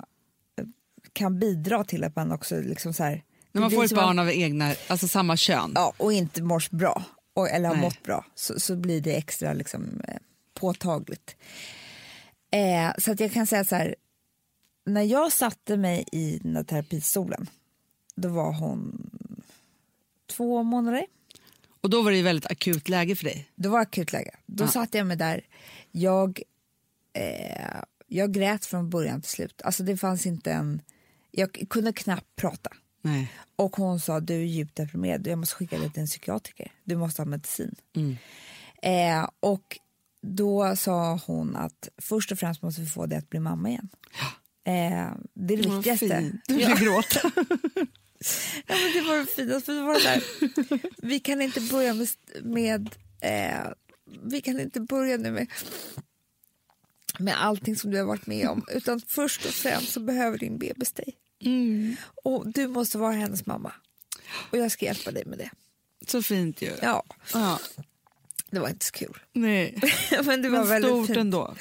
B: kan bidra till att man också liksom så här,
A: När man
B: blir
A: får ett
B: som att-
A: barn av egna, alltså samma kön.
B: Ja, och inte mår bra och, eller har
A: Nej.
B: mått bra så, så blir det extra liksom, eh, påtagligt. Eh, så att jag kan säga så här, när jag satte mig i den där terapistolen då var hon två månader.
A: Och då var det ju väldigt akut läge för dig.
B: Då var det akutläge. Då
A: Ja.
B: satt jag mig där. Jag, eh, jag grät från början till slut. Alltså det fanns inte en... Jag kunde knappt prata.
A: Nej.
B: Och hon sa du är djupt deprimerad, jag måste skicka dig till en psykiatriker, du måste ha medicin. Eh, och då sa hon att först och främst måste vi få dig att bli mamma igen. Eh, det är det viktigaste.
A: Du vill gråta.
B: Ja, men det var det finaste, för det var det där. vi kan inte börja med, med eh, vi kan inte börja nu med, med allting som du har varit med om, utan först och främst så behöver din bebis dig.
A: Mm.
B: Och du måste vara hennes mamma. Och jag ska hjälpa dig med det.
A: Så fint ju.
B: Ja,
A: Ja.
B: det var inte så kul.
A: Nej.
B: Men det var
A: Men
B: väldigt
A: stort
B: fint.
A: ändå.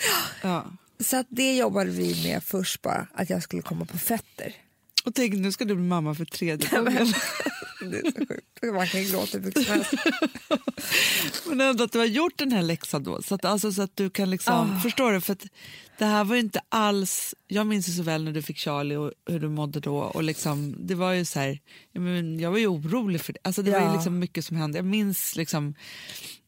A: Ja.
B: Så att det jobbade vi med först bara, att jag skulle komma på fötter.
A: Och tänk, nu ska du bli mamma för tredje gången.
B: Det är så sjukt. Man kan ju gråta hur mycket som helst.
A: Men ändå att du har gjort den här läxan då, så att, alltså, så att du kan liksom,
B: Ah.
A: förstår du? För att det här var ju inte alls, jag minns ju så väl när du fick Charlie och hur du mådde då och liksom, det var ju så här, jag, men, jag var ju orolig för det, alltså det var ju
B: Ja.
A: liksom mycket som hände, jag minns liksom,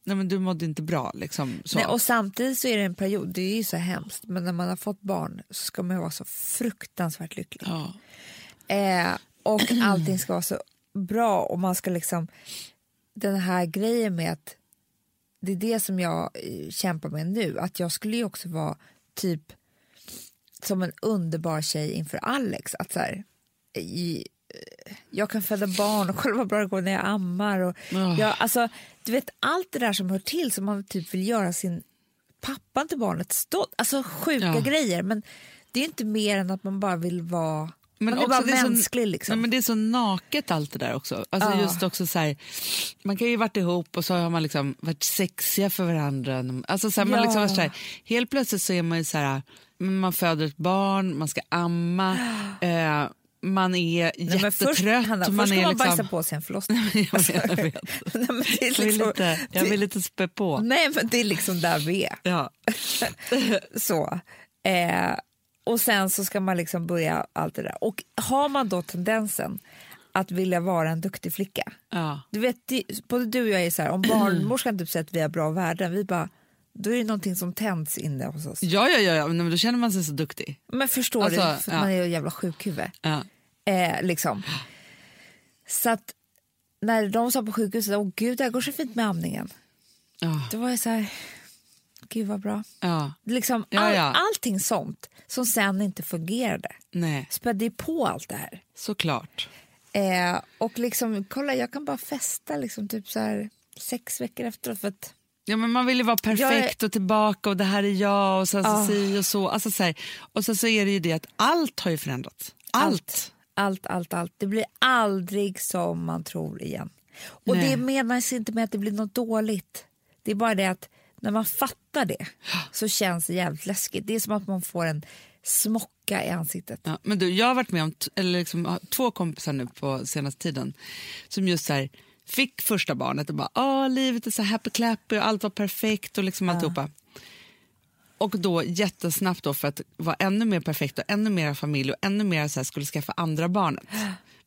A: nej men du mådde inte bra liksom så.
B: Nej, och samtidigt så är det en period, det är ju så hemskt, men när man har fått barn så ska man ju vara så fruktansvärt lycklig.
A: ja.
B: Eh, och
A: [CLEARS THROAT]
B: allting ska vara så bra och man ska liksom, den här grejen med att, det är det som jag eh, kämpar med nu, att jag skulle ju också vara typ som en underbar tjej inför Alex. Att så här, i, eh, jag kan föda barn och kolla vad bra det går när jag ammar. Och
A: Ah.
B: jag, alltså, du vet allt det där som hör till som man typ vill göra sin pappan till barnet stolt. Alltså sjuka
A: Ja.
B: grejer men det är inte mer än att man bara vill vara
A: Men
B: man är
A: också
B: bara
A: det är så-
B: mänsklig liksom.
A: Nej, men det är så naket allt det där också. Alltså
B: Ja.
A: just också så här, man kan ju varit ihop och så har man liksom varit sexiga för varandra. Alltså så här, man
B: Ja.
A: liksom varit så här, helt plötsligt så är man ju så här, man föder ett barn, man ska amma,
B: [GASPS]
A: eh, man är
B: Nej, men
A: jättetrött.
B: först, Hanna,
A: man
B: först ska
A: är
B: man
A: liksom,
B: bajsa
A: [LAUGHS]
B: på sig en förlossning.
A: jag vet, jag vet.
B: [LAUGHS] Nej, men det är
A: Jag vill
B: liksom-
A: inte, jag
B: det-
A: vill inte spä på.
B: Nej men det är liksom där vi är.
A: Ja.
B: Så. Eh, och sen så ska man liksom börja allt det där. Och har man då tendensen att vilja vara en duktig flicka.
A: Ja.
B: Du vet, det, både du och jag är så här, om barnmorskan typ säger att vi har bra värden, vi bara, då är det någonting som tänds inne hos oss.
A: Ja, ja, ja, ja, men då känner man sig så duktig.
B: Men förstår
A: Alltså,
B: du, för att
A: ja.
B: man är ju jävla sjukhuvud.
A: Ja.
B: Eh, liksom. Så att när de sa på sjukhuset, åh gud det här går så fint med amningen.
A: Ja.
B: Då var jag så här, gud vad bra.
A: Ja.
B: Liksom,
A: Ja,
B: all,
A: ja.
B: Allting sånt som sen inte fungerade
A: Nej,
B: spädde ju på allt det här.
A: såklart.
B: Eh, och liksom, kolla jag kan bara festa liksom, typ så här, sex veckor efteråt för att
A: Ja, men man vill ju vara perfekt och tillbaka och det här är jag och sen så
B: Ah.
A: si och så. Alltså, så här. Och sen så är det ju det att allt har ju förändrats. Allt.
B: Allt, allt, allt. Det blir aldrig som man tror igen. Och
A: Nej.
B: det menas inte med att det blir något dåligt. Det är bara det att när man fattar det så känns det jävligt läskigt. Det är som att man får en smocka i ansiktet.
A: Ja, men du, jag har varit med om t- eller liksom, har två kompisar nu på senaste tiden som just så här, fick första barnet och bara Åh, livet är så happy clappy och allt var perfekt och liksom alltihopa. Och då jättesnabbt då för att vara ännu mer perfekt och ännu mer familj och ännu mer så här skulle skaffa andra barnet.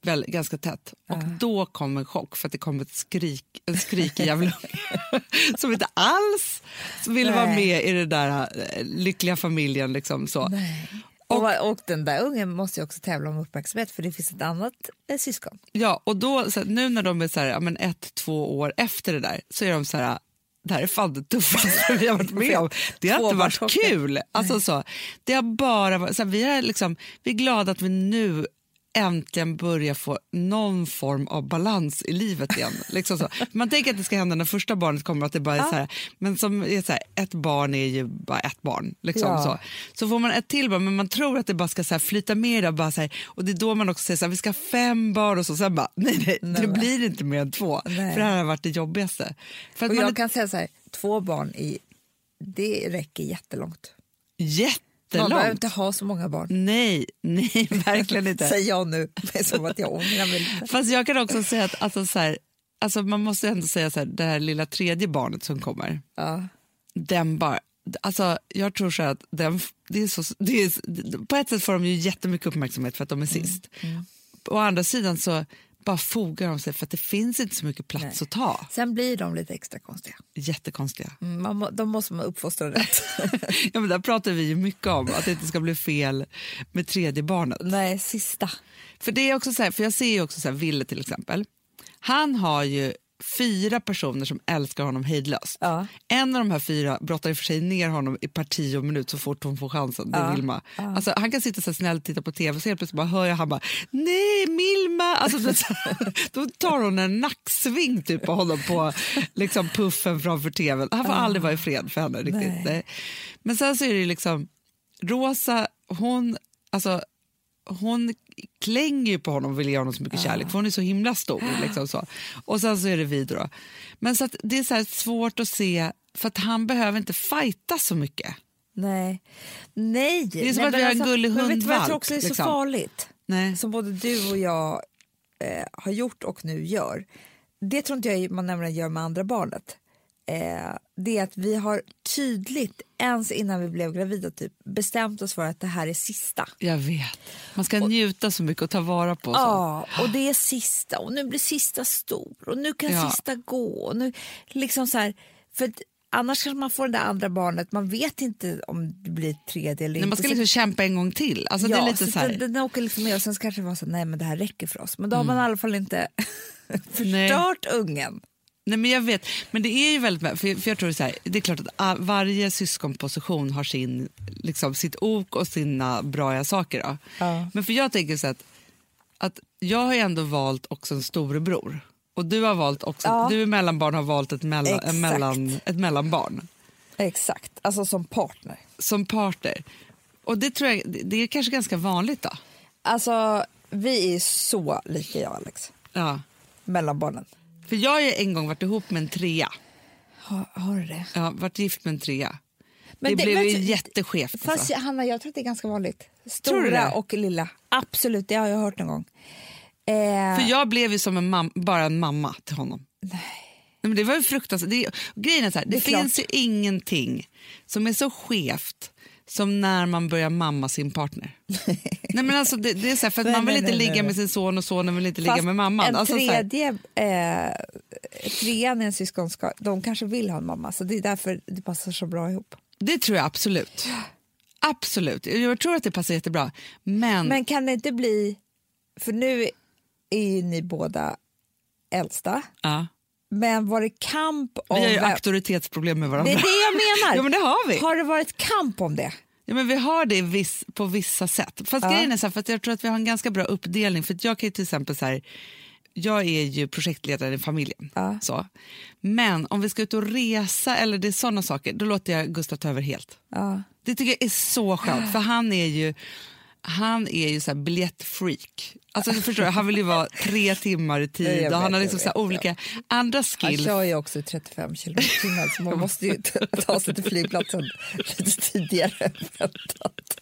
A: Väl, ganska tätt. Och då kom en chock för att det kom ett skrik, en skrik i jävla [LAUGHS] som inte alls ville vara
B: Nej.
A: med i den där eh, lyckliga familjen. Liksom, så.
B: Och, och, den där ungen måste ju också tävla om uppmärksamhet för det finns ett annat eh, syskon.
A: Ja, och då, så här, nu när de är så här, ja, men ett, två år efter det där så är de så här, det här är fan det tuffaste vi har varit med om. Det har inte varit
B: Tvåbarnschocken.
A: kul. Alltså, så, det har bara varit, så här, vi, är liksom, vi är glada att vi nu äntligen börjar få någon form av balans i livet igen. Liksom så. Man tänker att det ska hända när första barnet kommer, att det bara är så här, men som är så här, ett barn är ju bara ett barn. Liksom,
B: Ja.
A: så. Så får man ett till barn, men man tror att det bara ska så här flyta med. Det, bara så här, och det är då man också säger så här, vi ska ha fem barn och så. Sen bara, nej, nej, det
B: men.
A: blir inte mer än två.
B: Nej.
A: För det här har varit det jobbigaste. För att
B: Och
A: man
B: jag
A: är
B: kan säga så här, två barn i, det räcker jättelångt.
A: jättelångt.
B: Man behöver
A: jättelångt.
B: inte ha så många barn.
A: Nej, nej, [LAUGHS] verkligen inte.
B: [LAUGHS] Säger jag nu, det är som att jag ångrar mig
A: [LAUGHS]
B: lite.
A: Fast jag kan också säga att alltså, så här, alltså, man måste ändå säga så här, det här lilla tredje barnet som kommer,
B: Ja.
A: den bara, alltså jag tror så här att den, det är så, det är, på ett sätt får de ju jättemycket uppmärksamhet för att de
B: Mm.
A: är sist. Å andra sidan så bara fogar de sig för att det finns inte så mycket plats
B: Nej.
A: att ta.
B: Sen blir de lite extra konstiga.
A: Jättekonstiga. [LAUGHS]
B: Mm, Man, må- de måste man uppfostra rätt.
A: Ja, men där pratar vi ju mycket om att det inte ska bli fel med tredje barnet.
B: [LAUGHS] Nej, sista.
A: För det är också så här, för jag ser ju också så här, Ville till exempel. Han har ju fyra personer som älskar honom hejdlöst.
B: Ja.
A: En av de här fyra brottar i och för sig ner honom i parti och minut så fort hon får chansen. Det är
B: Ja.
A: Vilma. Alltså, han kan sitta så här snällt och titta på tv och så helt plötsligt bara hör jag han bara nej Milma. Alltså, så, så, [LAUGHS] då tar hon en nacksving typ på honom på liksom, puffen framför tvn. Han får aldrig vara i fred för henne riktigt.
B: Nej.
A: Nej. Men sen så är det ju liksom Rosa, hon, alltså, hon klänger ju på honom och vill ge honom så mycket kärlek för hon är så himla
B: [GASPS]
A: stor. Liksom så. Och sen så är det vi då. Men så att det är så här svårt att se för att han behöver inte fighta så mycket.
B: Nej. Nej.
A: är som
B: Nej,
A: att
B: men alltså,
A: vi har en gullig
B: men Vet du vad jag tror
A: hundvalp,
B: också är så
A: liksom.
B: farligt?
A: Nej.
B: Som både du och jag eh, har gjort och nu gör. Det tror inte jag man nämligen gör med andra barnet. Eh, det är att vi har tydligt, ens innan vi blev gravida, typ, bestämt oss för att det här är sista.
A: Jag vet. Man ska njuta så mycket och ta vara på. Så.
B: Ja, och det är sista och nu blir sista stor och nu kan
A: Ja.
B: sista gå. Och nu, liksom så här, för att annars kanske man får det där andra barnet, man vet inte om det blir ett tredje eller
A: Nej,
B: inte.
A: man ska
B: Så-
A: liksom kämpa en gång till. Alltså, det är lite
B: så
A: så här,
B: Den, den åker liksom med och sen så kanske det var så här, nej men det här räcker för oss. Men då har man i alla fall inte
A: Mm.
B: [LAUGHS]
A: Nej.
B: förstört ungen.
A: Nej, men jag vet. Men det är ju väldigt... För, för jag tror så här, det är klart att ah, varje syskonposition har sin, liksom, sitt ok och sina braiga saker. Då.
B: Ja.
A: Men för jag tänker så att, att jag har ju ändå valt också en storebror. Och du har valt också,
B: Ja.
A: du är mellanbarn har valt ett, mellan,
B: Exakt.
A: en mellan, ett mellanbarn
B: Exakt, alltså som partner.
A: som partner. Och det tror jag, det- det är kanske ganska vanligt då.
B: Alltså vi är så lika jag och Alex,
A: Ja.
B: mellan barnen.
A: För jag har ju en gång varit ihop med en trea.
B: Har, har du det?
A: Ja, varit gift med en trea.
B: Men
A: det,
B: det-
A: blev
B: men-
A: ju jätteskevt.
B: Fast
A: alltså.
B: jag- Hanna, jag tror att det är ganska vanligt.
A: Tror du
B: Stora
A: det?
B: och lilla. Absolut, det har jag hört någon gång. Eh,
A: För jag blev ju som en mam- bara en mamma till honom. Nej. men det var ju fruktansvärt. Det, är- grejen är så här, det,
B: är
A: finns ju ingenting som är så skevt som när man börjar mamma sin
B: [LAUGHS]
A: partner. nej men alltså det, det är så här, för att
B: Nej,
A: man vill
B: nej,
A: inte
B: nej,
A: ligga
B: nej,
A: med
B: nej.
A: sin son och sonen vill inte ligga
B: fast
A: med mamman.
B: En
A: Alltså, så här,
B: tredje, eh, trean i en syskonska, de kanske vill ha en mamma, så det är därför det passar så bra ihop.
A: det tror jag absolut. Absolut. Jag tror att det passar jättebra. Men,
B: Men kan det inte bli, för nu är ju ni båda äldsta,
A: ja,
B: men var det kamp om...
A: vi har ju
B: vem-
A: auktoritetsproblem med varandra.
B: det är det jag
A: [LAUGHS]
B: menar!
A: Ja, men det har vi.
B: Har det varit kamp om det?
A: Ja, men vi har det i viss, på vissa sätt. Fast
B: Ja.
A: grejen är så här, för att jag tror att vi har en ganska bra uppdelning. För att jag kan ju till exempel så här, jag är ju projektledare i familjen.
B: Ja.
A: Så. Men om vi ska ut och resa eller det är sådana saker, då låter jag Gustav ta över helt.
B: Ja.
A: Det tycker jag är så skönt, för han är ju, han är ju så här biljettfreak. Alltså, du förstår, han vill ju vara tre timmar i
B: Jag
A: tid
B: vet,
A: och han har
B: jag
A: liksom så här
B: vet,
A: olika andra
B: Han
A: skills.
B: kör ju också 35 kilometer i timmen så man måste ju ta- ta sig till flygplatsen lite tidigare än väntat.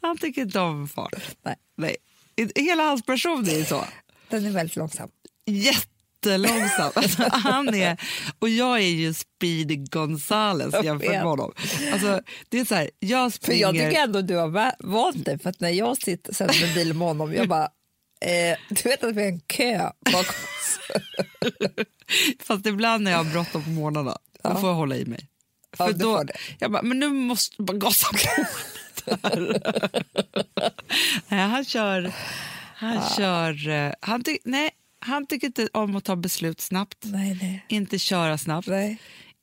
A: Han tycker inte om fart.
B: Nej,
A: Nej. Hela hans person är ju så.
B: den är väldigt långsam.
A: jättelångsam. Alltså,
B: [LAUGHS]
A: han är, och jag är ju Speedy Gonzales
B: Jag
A: jämfört
B: vet.
A: med honom. Alltså, det är så här, jag
B: För
A: springer...
B: jag tycker ändå du har va- vant dig för att när jag sitter sen med bil med honom, jag bara Eh, du vet att vi har en kö bakom oss.
A: Fast ibland när jag har bråttom på morgnarna, då får jag hålla i mig.
B: Ja,
A: För
B: du
A: då,
B: får det.
A: jag bara, men nu måste jag bara gasa på lite här. [LAUGHS] nej, han kör... Han kör... eh, Han, ty, nej, han tycker inte om att ta beslut snabbt,
B: Nej, nej.
A: inte köra snabbt,
B: Nej,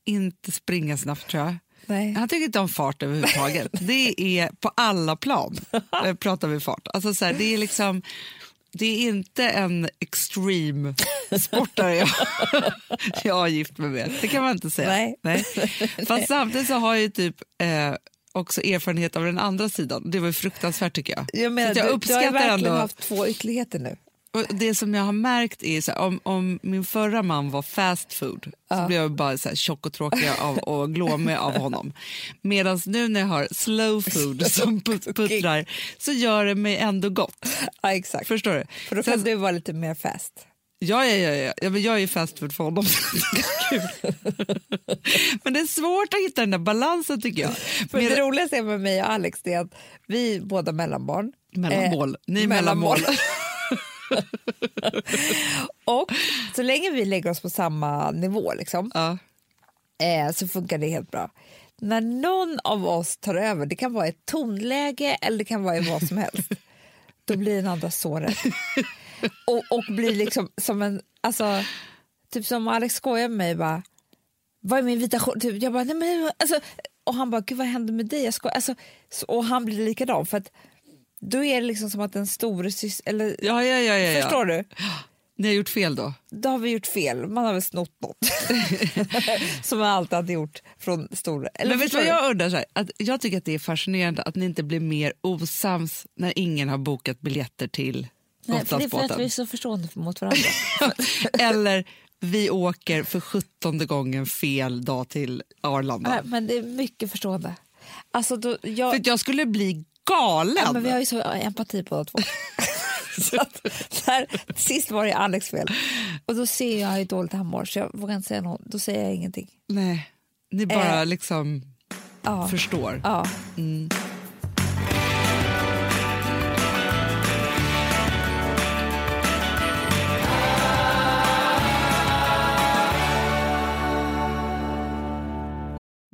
A: inte springa snabbt tror jag.
B: nej.
A: Han tycker inte om fart
B: [LAUGHS]
A: överhuvudtaget. Det är på alla plan eh, pratar vi fart. Alltså så här, det är liksom det är inte en extreme sportare
B: [LAUGHS]
A: jag, jag har gift mig med. Det kan man inte säga.
B: [LAUGHS] Nej.
A: Fast samtidigt så har jag ju typ eh, också erfarenhet av den andra sidan. Det var ju fruktansvärt tycker jag.
B: Jag, menar,
A: så att jag
B: du, du har
A: uppskattar
B: ju verkligen
A: ändå...
B: haft två ytterligheter nu.
A: Och det som jag har märkt är så här, om, om min förra man var fast food så blev jag bara så här tjock och tråkig av,
B: [LAUGHS]
A: och glåmig av honom. Medan nu när jag har slow
B: [LAUGHS]
A: food som put- puttrar så gör det mig ändå gott.
B: Ja, exakt.
A: Förstår du?
B: För då kan du vara lite mer fast.
A: Ja, ja, ja, ja. ja men jag är ju fast food för honom. [LAUGHS] Kul. men det är svårt att hitta den där balansen tycker jag.
B: [LAUGHS] För det roligaste med mig och Alex det är att vi är båda mellanbarn. eh,
A: Mellanmål. Ni är
B: mellanmål.
A: mellanmål.
B: [LAUGHS] och så länge vi lägger oss på samma nivå liksom,
A: Ja.
B: eh, så funkar det helt bra. När någon av oss tar över, det kan vara i ett tonläge eller det kan vara i vad som helst, då blir den andra sårad. Och, och blir liksom som en, alltså, typ som Alex skojar med mig bara, vad är min vita skjorta? Typ, jag bara, nej men, alltså, och han bara, gud vad hände med dig? Jag skojar. Alltså, så- och han blir likadan för att då är det liksom som att den store sys- eller
A: Ja, ja, ja, ja, ja.
B: Förstår du?
A: Ni har gjort fel då?
B: Då har vi gjort fel. Man har väl snott [LAUGHS] något. Som man alltid hade gjort från stora... Eller
A: men vet du
B: förstår
A: vad
B: du?
A: jag undrar? Så här, att jag tycker att det är fascinerande att ni inte blir mer osams när ingen har bokat biljetter till
B: Nej, för det är för att vi är
A: Gotlandsbåten.
B: så förstående mot [LAUGHS] varandra.
A: [LAUGHS] Eller vi åker för sjuttonde gången fel dag till Arlanda.
B: Nej, men det är mycket förstående. Alltså, då, jag,
A: För att jag skulle bli galen!
B: ja, men vi har ju så empati båda [LAUGHS] två. så att, där, sist var det Alex fel. Och då ser jag hur dåligt han mår så jag vågar inte säga något. Då säger jag ingenting.
A: Nej, ni bara
B: Eh.
A: liksom
B: Ja.
A: förstår.
B: Ja.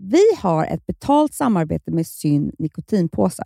C: Vi har ett betalt samarbete med Syn nikotinpåsar.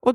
D: Och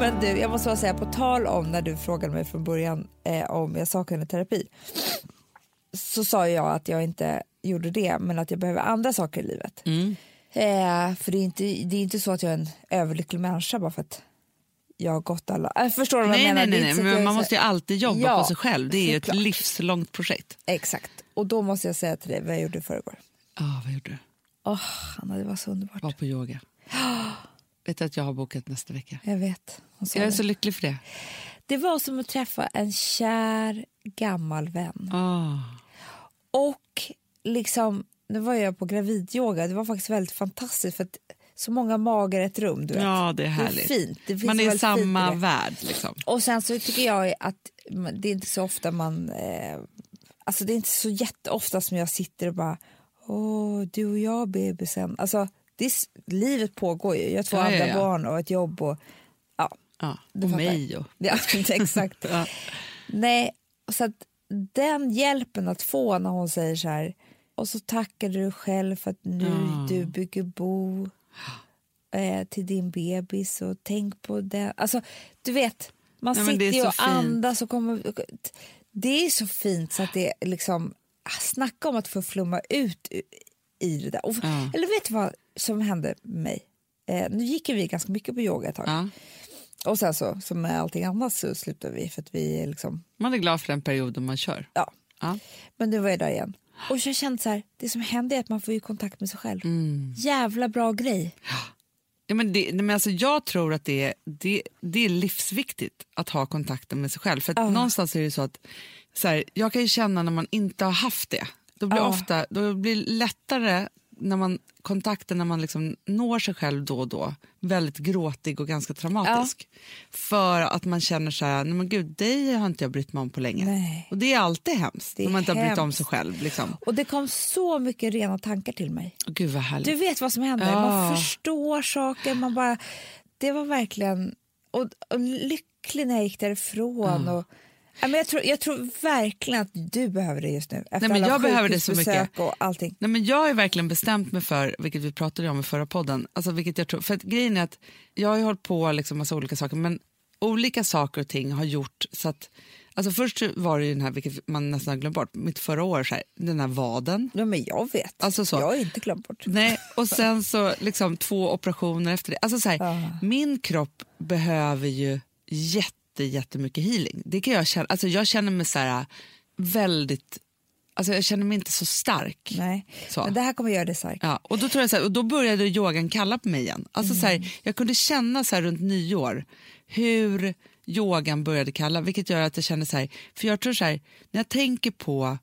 B: Men du, jag måste bara säga, på tal om när du frågade mig från början eh, om jag saknade terapi så sa jag att jag inte gjorde det, men att jag behöver andra saker i livet.
A: Mm.
B: Eh, för det är, inte, det är inte så att jag är en överlycklig människa bara för att jag har gått alla... Äh, förstår du vad jag
A: Nej,
B: menar?
A: nej,
B: Det är
A: nej,
B: inte
A: nej.
B: så att jag
A: Men
B: är
A: man
B: så-
A: måste ju alltid jobba
B: Ja,
A: på sig själv. Det är ju ett
B: såklart.
A: livslångt projekt.
B: Exakt. Och då måste jag säga till dig vad jag gjorde i förrgår.
A: Ja, vad gjorde du?
B: Åh, Anna, det var så underbart.
A: Var på yoga. [GASPS] Vet du att jag har bokat nästa vecka?
B: Jag vet. Hon sa
A: Jag är
B: det.
A: så lycklig för det.
B: det var som att träffa en kär gammal vän.
A: Ah.
B: Och liksom, nu var jag på gravidyoga. Det var faktiskt väldigt fantastiskt för att så många magar i ett rum. Du vet.
A: Ja, det är härligt.
B: Det är fint. Det finns
A: Man är i
B: väldigt fint i
A: samma
B: det.
A: värld. Liksom.
B: Och sen så tycker jag att man- det är inte så ofta man... Eh, alltså det är inte så jätteofta som jag sitter och bara Åh, du och jag bebisen. Alltså, det är, s- livet pågår ju. Jag har två
A: Ja, ja,
B: andra
A: ja.
B: barn och ett jobb och... Ja,
A: Ja.
B: du
A: Och
B: fattar.
A: mig. Och.
B: Ja,
A: [LAUGHS]
B: exakt.
A: Ja.
B: Nej, så att den hjälpen att få när hon säger så här och så tackar du dig själv för att nu
A: Ja.
B: du bygger bo eh, till din bebis och tänk på det. Alltså, du vet, man
A: Nej, men det
B: sitter
A: är
B: ju
A: så
B: och
A: fint.
B: andas och kommer... Det är så fint så att det är liksom... ah, Snacka om att få flumma ut u- i det där. Och,
A: Ja.
B: Eller vet du vad som hände med mig? Eh, nu gick ju vi ganska mycket på yoga ett tag.
A: Ja.
B: Och sen så, som med allting annat så slutade vi för att vi är liksom,
A: Man är glad för den perioden man kör.
B: ja.
A: Ja.
B: Men nu var jag där igen. Och jag kände så här, det som händer är att man får ju kontakt med sig själv.
A: Mm.
B: Jävla bra grej.
A: Ja, men det, nej, men alltså jag tror att det är, det, det är livsviktigt att ha kontakten med sig själv. För att någonstans är det så att så här, jag kan ju känna när man inte har haft det. Då blir, ofta, då blir det lättare när man kontakten när man liksom når sig själv då och då väldigt gråtig och ganska traumatisk. För att man känner så här, nej men gud, dig har inte jag brytt mig om på länge.
B: Nej.
A: Och det är alltid hemskt
B: Det är
A: när man inte har brytt om
B: hemskt.
A: sig själv. Liksom.
B: Och det kom så mycket rena tankar till mig.
A: Gud vad härligt.
B: Du vet vad som händer,
A: Ja.
B: man förstår saker, man bara... Det var verkligen... Och, och lycklig när jag gick därifrån.
A: Mm.
B: Och, ja, men jag, tror, jag tror verkligen att du behöver det just nu. Efter
A: men
B: alla
A: jag behöver det så
B: sjukhusbesök
A: mycket.
B: och allting.
A: Nej, men jag har ju verkligen bestämt mig för, vilket vi pratade om i förra podden, alltså vilket jag tror, för att grejen är att jag har ju hållit på liksom massa olika saker, men olika saker och ting har gjort så att, alltså först så var det ju den här, vilket man nästan har glömt bort, mitt förra år, så här, den här vaden.
B: Ja, men jag vet.
A: Alltså så.
B: Jag har inte glömt bort.
A: Nej, och sen så liksom två operationer efter det. Alltså så här, Min kropp behöver ju jätte, jättemycket healing. Det kan jag känna. Alltså jag känner mig så här väldigt, alltså jag känner mig inte så stark.
B: Nej.
A: Så.
B: Men det här kommer göra dig stark.
A: Ja, och då, tror jag så här, och då började yogan kalla på mig igen. Alltså så här, jag kunde känna så här runt nyår hur yogan började kalla, vilket gör att jag känner så här, för jag tror så här, när jag tänker på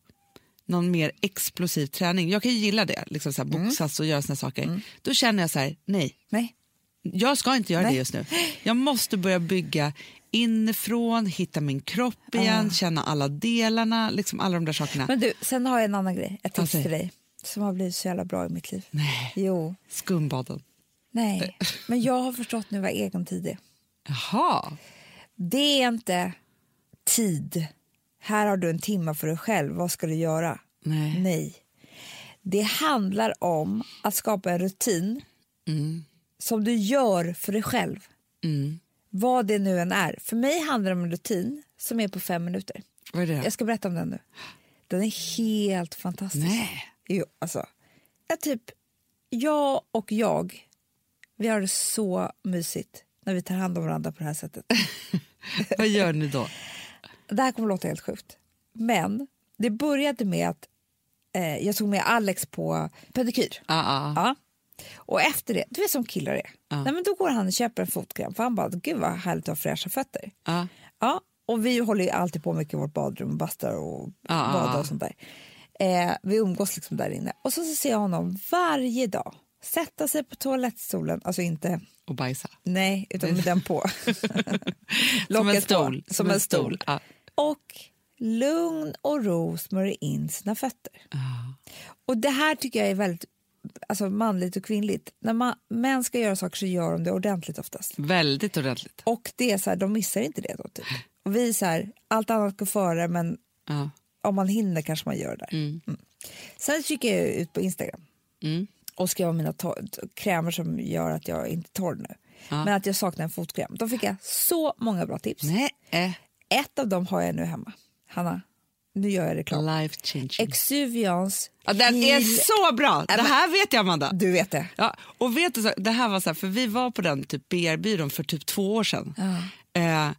A: någon mer explosiv träning, jag kan ju gilla det, liksom så här, boxas och göra såna saker, då känner jag så här, nej,
B: Nej.
A: jag ska inte göra det just nu. Jag måste börja bygga inifrån, hitta min kropp igen, känna alla delarna, liksom alla de där sakerna.
B: Men du, sen har jag en annan grej. Ett tips
A: Okej.
B: till dig. som har blivit så jävla bra i mitt liv.
A: Nej,
B: Jo,
A: skumbaden. [LAUGHS]
B: nej. Men jag har förstått nu vad egentid är.
A: Jaha.
B: Det är inte tid. Här har du en timme för dig själv. Vad ska du göra?
A: Nej.
B: Nej. Det handlar om att skapa en rutin
A: Mm.
B: som du gör för dig själv.
A: Mm.
B: Vad det nu än är. För mig handlar det om en rutin som är på fem minuter.
A: Vad är det?
B: Jag ska berätta om den nu. Den är helt fantastisk.
A: Nej.
B: Jo, alltså. Jag, typ, jag och jag, vi har det så mysigt när vi tar hand om varandra på det här sättet.
A: Vad gör ni då?
B: Det här kommer låta helt sjukt. Men det började med att eh, jag tog med Alex på pedikyr.
A: Ah, ah.
B: Ja. Och efter det, du vet som killar är.
A: Ja.
B: Nej, men då går han och köper en fotkräm för han bara, gud vad härligt att ha fräscha fötter.
A: Ah.
B: Ja, och vi håller ju alltid på mycket i vårt badrum och bastar och
A: Ja,
B: badar
A: ja.
B: och sånt där. Eh, vi umgås liksom där inne. Och så, så ser jag honom varje dag sätta sig på toalettstolen, alltså inte,
A: Och bajsa.
B: nej, utan med den på.
A: Som en
B: Locket på.
A: stol.
B: Som en stol.
A: Ah.
B: Och lugn och ro smörjer in sina fötter.
A: Ah.
B: Och det här tycker jag är väldigt alltså, manligt och kvinnligt. När man, män ska göra saker så gör de det ordentligt oftast.
A: Väldigt ordentligt.
B: Och det är så här, de missar inte det då typ. Och vi är så här, allt annat går före men
A: Ah.
B: om man hinner kanske man gör det. där.
A: Mm.
B: Sen gick jag ut på Instagram
A: Mm.
B: och skrev om mina tor- krämer som gör att jag inte är torr nu.
A: Ja.
B: Men att jag saknar en fotkräm. Då fick jag så många bra tips.
A: Nej. Eh.
B: Ett av dem har jag nu hemma. Hanna, nu gör jag reklam.
A: Life changing.
B: Exuvians
A: Mm. Ja, den är
B: Heal-
A: så bra! Det
B: men-
A: här vet jag, Amanda.
B: Du vet det.
A: Ja, och vet du, så- det här var så här, för vi var på den typ BR-byrån för typ två år sedan. Eh,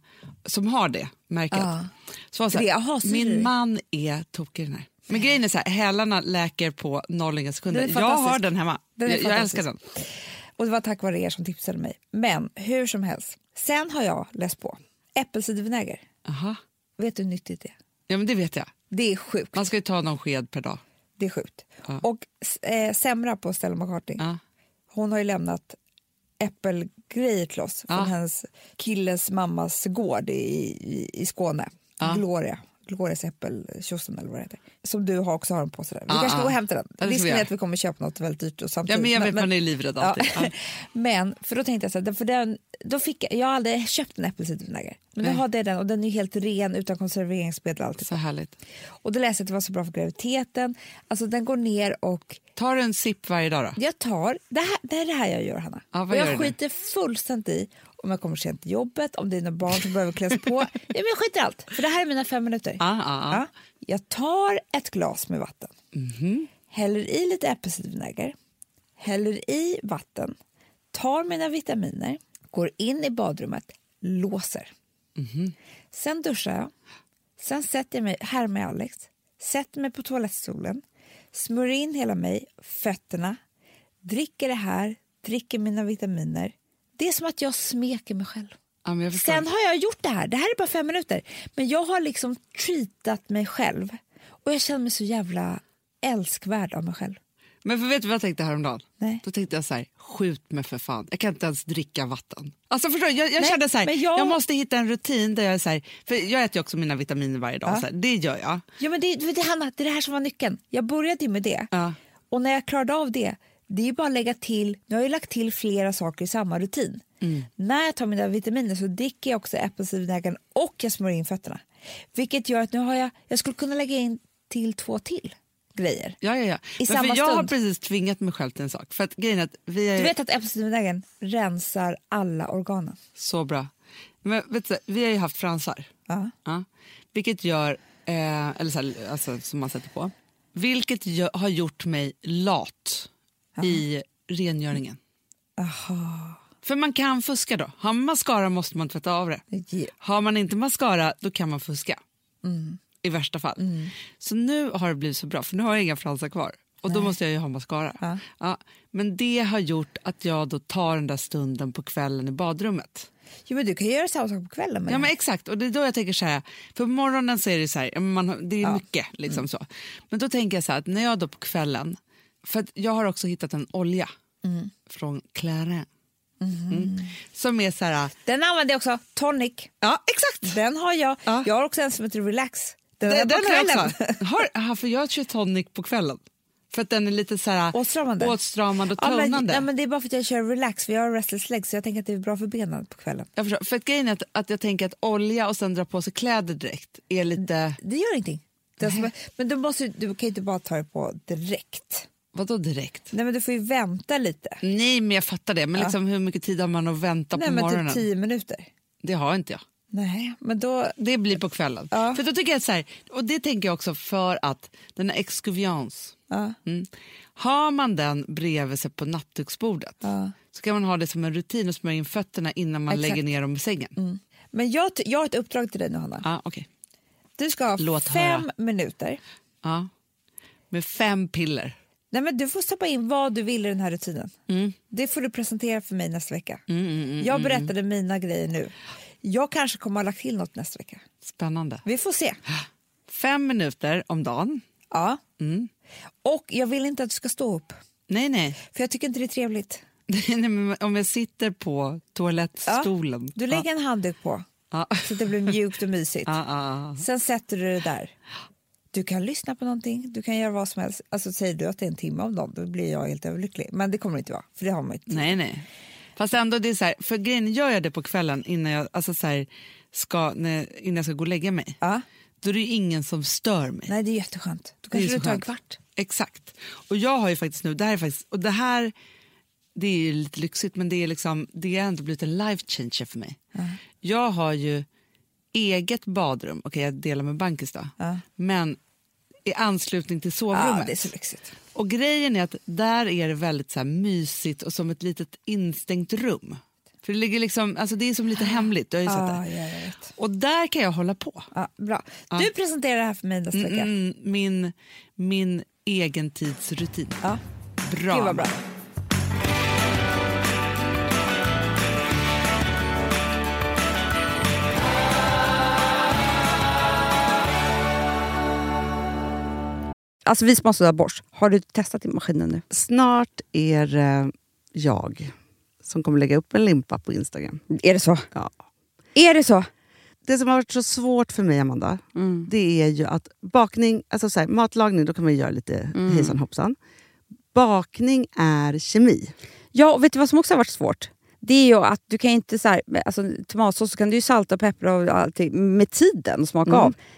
A: som har det märket.
B: Ja.
A: Så var det så här,
B: Det- jaha, ser du det?
A: min man är tokig i den här. Men grejen är så här, hälarna läker på noll inga sekunder.
B: Den är
A: Jag
B: fantastisk.
A: har den hemma.
B: Den är
A: jag, jag
B: fantastisk.
A: älskar den.
B: Och det var tack vare er som tipsade mig. Men hur som helst. Sen har jag läst på. Äppelcidervinäger.
A: Aha.
B: Vet du hur nyttigt det är?
A: Ja, men det vet jag.
B: Det är sjukt.
A: Man ska ju ta någon sked per dag.
B: Det är sjukt.
A: Ja.
B: Och eh, Semra på Stella McCartney.
A: Ja.
B: Hon har ju lämnat äppelgrejer till oss
A: Ja.
B: från hennes killes mammas gård i, i, i Skåne.
A: Ja.
B: Gloria. Glorias äppeltjosen eller vad det heter. Som du har också har en påse där. Vi
A: Ja,
B: kanske ska
A: ja.
B: gå och hämta den.
A: Ja, det ska vi
B: Risken är
A: göra.
B: att vi kommer köpa något väldigt dyrt och samtidigt.
A: Ja, men jag vet, man är livrädd alltid. Ja.
B: [LAUGHS] men för då tänkte jag så här, för den, då fick jag, jag har aldrig köpt en äppelcidervinäger. Men nu
A: Nej.
B: hade jag den och den är ju helt ren utan konserveringsmedel och allt.
A: Så härligt.
B: Och då läste jag att det var så bra för graviditeten. Alltså den går ner och
A: Tar du en sipp varje dag då?
B: jag tar, det här, det här är det här jag gör Hanna.
A: Ja, vad
B: och jag
A: gör du nu?
B: skiter fullständigt i om jag kommer sent till jobbet, om det är några barn som behöver kläs
A: [LAUGHS]
B: på. ja, men jag skiter i allt, för det här är mina fem minuter.
A: Ja, ja, ja.
B: Ja. Jag tar ett glas med vatten,
A: Mhm.
B: häller i lite äppelcidervinäger, häller i vatten, tar mina vitaminer, går in i badrummet, låser. Sen duschar jag, sen sätter jag mig här med Alex, sätter mig på toalettstolen, smörjer in hela mig, fötterna, dricker det här, dricker mina vitaminer. Det är som att jag smeker mig själv.
A: Ja, men jag förstår.
B: Sen har jag gjort det här. Det här är bara fem minuter. Men jag har liksom treatat mig själv. Och jag känner mig så jävla älskvärd av mig själv.
A: Men för vet du vad jag tänkte häromdagen?
B: Nej.
A: Då tänkte jag så här, skjut mig för fan. Jag kan inte ens dricka vatten. Alltså förstår du, jag, jag
B: Nej,
A: kände så här,
B: men jag-
A: jag... måste hitta en rutin där jag är så här, för jag äter ju också mina vitaminer varje dag,
B: Ja.
A: så här, det gör jag.
B: Ja, men det, det, det, Hanna, det är det här som var nyckeln. Jag började ju med det.
A: Ja.
B: Och när jag klarade av det, det är ju bara att lägga till. Nu har jag ju lagt till flera saker i samma rutin. När jag tar mina vitaminer så dricker jag också äppelcidervinägern och jag smörjer in fötterna. Vilket gör att nu har jag, jag skulle kunna lägga in till två till grejer.
A: Ja, ja, ja. Men
B: samma
A: för jag har
B: stund.
A: precis tvingat mig själv till en sak. För att grejen är att vi är
B: Du vet att äppelcidervinägern rensar alla organen.
A: så bra. Men vet du, vi har ju haft fransar.
B: Ja.
A: Ja. Vilket gör, eh, eller så här, alltså, som man sätter på. Vilket gö- har gjort mig lat i rengöringen. För man kan fuska då. Har man mascara måste man tvätta av det.
B: Ja.
A: Har man inte mascara då kan man fuska.
B: Mm.
A: I värsta fall. Så nu har det blivit så bra för nu har jag inga fransar kvar. Och då måste jag ju ha mascara.
B: Ja.
A: Ja, men det har gjort att jag då tar den där stunden på kvällen i badrummet.
B: Jo, men du kan ju göra samma sak på kvällen. Med
A: Ja,
B: det
A: men
B: här.
A: exakt. Och det är då jag tänker så här, för på morgonen så är det så här, ja, men man, har- det är mycket
B: Mm.
A: liksom så. Men då tänker jag så här, att när jag då på kvällen, för att jag har också hittat en olja
B: Mm.
A: från Clarin.
B: Mm-hmm.
A: Mm. Som är så här,
B: Den använder jag också, tonic.
A: ja exakt.
B: Den har jag.
A: Ja.
B: Jag har också en som heter relax. Den,
A: Den,
B: är
A: den
B: på
A: har jag
B: kvällen.
A: också. Har, aha, för jag kör tonic på kvällen. För att den är lite så här
B: Åtstramande.
A: åtstramande och
B: Ja, men,
A: tonande.
B: nej, men det är bara för att jag kör relax, för jag har restless legs, så jag tänker att det är bra för benen på kvällen.
A: jag förstår. För att grejen är att, att jag tänker att olja och sen dra på sig kläder direkt är lite...
B: Det gör ingenting. Det är som, men du, måste, ju- du kan ju inte bara ta det på direkt.
A: Vadå direkt?
B: Nej, men du får ju vänta lite.
A: Nej, men jag fattar det. Men liksom, hur mycket tid har man att vänta
B: Nej,
A: på
B: men
A: morgonen?
B: typ tio minuter.
A: Det har inte jag.
B: Nej, men då...
A: Det blir på kvällen.
B: Ja.
A: För då tycker jag så här, och det tänker jag också för att den här excuviance.
B: Ja,
A: Mm. Har man den bredvid sig på nattduksbordet
B: ja.
A: så kan man ha det som en rutin och smörja in fötterna innan man
B: Exakt. Mm.
A: lägger ner dem i sängen.
B: Men jag, t- jag har ett uppdrag till dig nu, Hanna.
A: Ja, okej.
B: Du ska ha
A: Låt
B: fem
A: höra.
B: minuter.
A: Ja. Med fem piller.
B: Nej, men du får stoppa in vad du vill i den här rutinen.
A: Mm.
B: Det får du presentera för mig nästa vecka. jag berättade
A: mm.
B: mina grejer nu. Jag kanske kommer att ha lagt till något nästa vecka.
A: Spännande.
B: Vi får se.
A: Fem minuter om dagen.
B: Ja.
A: Mm.
B: Och jag vill inte att du ska stå upp,
A: Nej, nej. [LAUGHS]
B: för jag tycker inte det är trevligt.
A: nej men om jag sitter på toalettstolen.
B: Du lägger en handduk på,
A: Ja.
B: så att det blir mjukt och
A: [LAUGHS]
B: mysigt.
A: Ja, ja, ja.
B: Sen sätter du det där. Du kan lyssna på någonting, du kan göra vad som helst. Alltså säger du att det är en timme om dagen, då blir jag helt överlycklig. Men det kommer det inte vara, för det har man inte.
A: Nej, nej. Fast ändå, det är så här, för grejen gör jag det på kvällen innan jag, alltså så här, ska, när, innan jag ska gå och lägga mig.
B: Ja.
A: Då är det ju ingen som stör mig.
B: Nej, det är jätteskönt. Då
A: Det är
B: kanske
A: så
B: du tar en
A: skönt.
B: kvart.
A: Exakt. Och jag har ju faktiskt nu, det här är faktiskt, och det här, det är ju lite lyxigt men det är liksom, det har ändå blivit en life changer för mig. Jag har ju eget badrum, okej jag delar med bankis då, men i anslutning till sovrummet.
B: Ja, det är så lyxigt.
A: Och grejen är att där är det väldigt så här mysigt och som ett litet instängt rum. För det ligger liksom, alltså det är som lite hemligt, du har ju sett
B: Ja,
A: det.
B: ja, jag vet.
A: Och där kan jag hålla på.
B: Ja, bra. Du presenterar det här för mig nästa vecka.
A: Mm, min, min egen tidsrutin.
B: Ja.
A: Bra.
B: Gud vad bra.
C: Alltså vi som har sådär borst, har du testat i maskinen nu?
D: Snart är eh, jag som kommer lägga upp en limpa på Instagram.
C: Är det så?
D: Ja.
C: Är det så?
D: Det som har varit så svårt för mig, Amanda,
C: Mm.
D: det är ju att bakning... Alltså så här, matlagning, då kan man ju göra lite
C: Mm.
D: hejsan hoppsan. Bakning är kemi.
C: Ja, och vet du vad som också har varit svårt? Det är ju att du kan ju inte så här, alltså, tomatsås så kan du ju salta och peppra och allting med tiden och smaka av.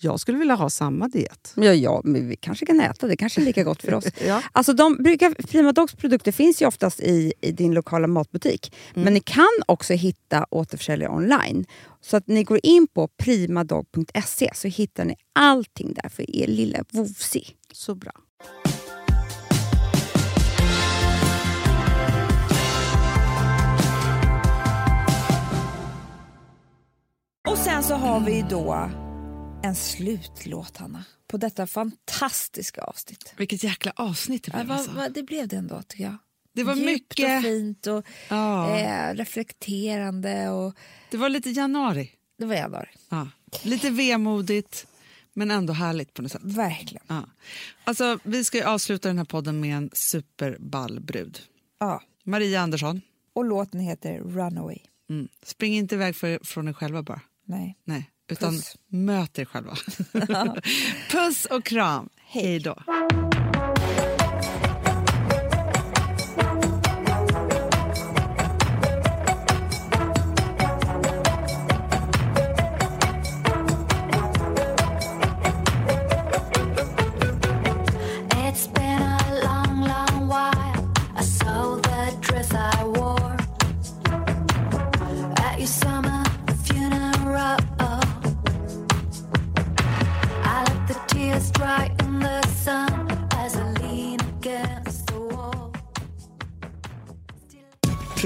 D: Jag skulle vilja ha samma diet.
C: ja, ja, men vi kanske kan äta. Det kanske är lika gott
B: [LAUGHS]
C: för oss.
D: Ja.
C: Alltså, de brukar, Prima Dogs produkter finns ju oftast i, i din lokala matbutik.
B: Mm.
C: Men ni kan också hitta återförsäljare online. Så att ni går in på primadog.se så hittar ni allting där för er lilla vovsi.
D: Så bra.
B: Och sen så har vi ju då en slutlåt, Hanna, på detta fantastiska avsnitt.
A: Vilket jäkla avsnitt det
B: Ja,
A: blev.
B: vad,
A: Alltså.
B: vad, det blev det ändå, tycker jag.
A: Det var
B: Djupt och
A: mycket-
B: fint och
A: Ja.
B: eh, reflekterande. Och,
A: Det var lite januari.
B: det var januari,
A: Ja. Lite vemodigt, men ändå härligt på något sätt.
B: verkligen.
A: Ja. Alltså, vi ska ju avsluta den här podden med en superball brud.
B: Ja.
A: Maria Andersson.
B: Och låten heter Runaway.
A: Mm. Spring inte iväg för, från er själva bara.
B: Nej.
A: Nej, utan
B: Puss.
A: möt er själva. Puss och kram. Hej då.
E: It's been a long, long while. I saw the dress I wore at your summer funeral. I let the tears dry in the sun as I lean against the wall.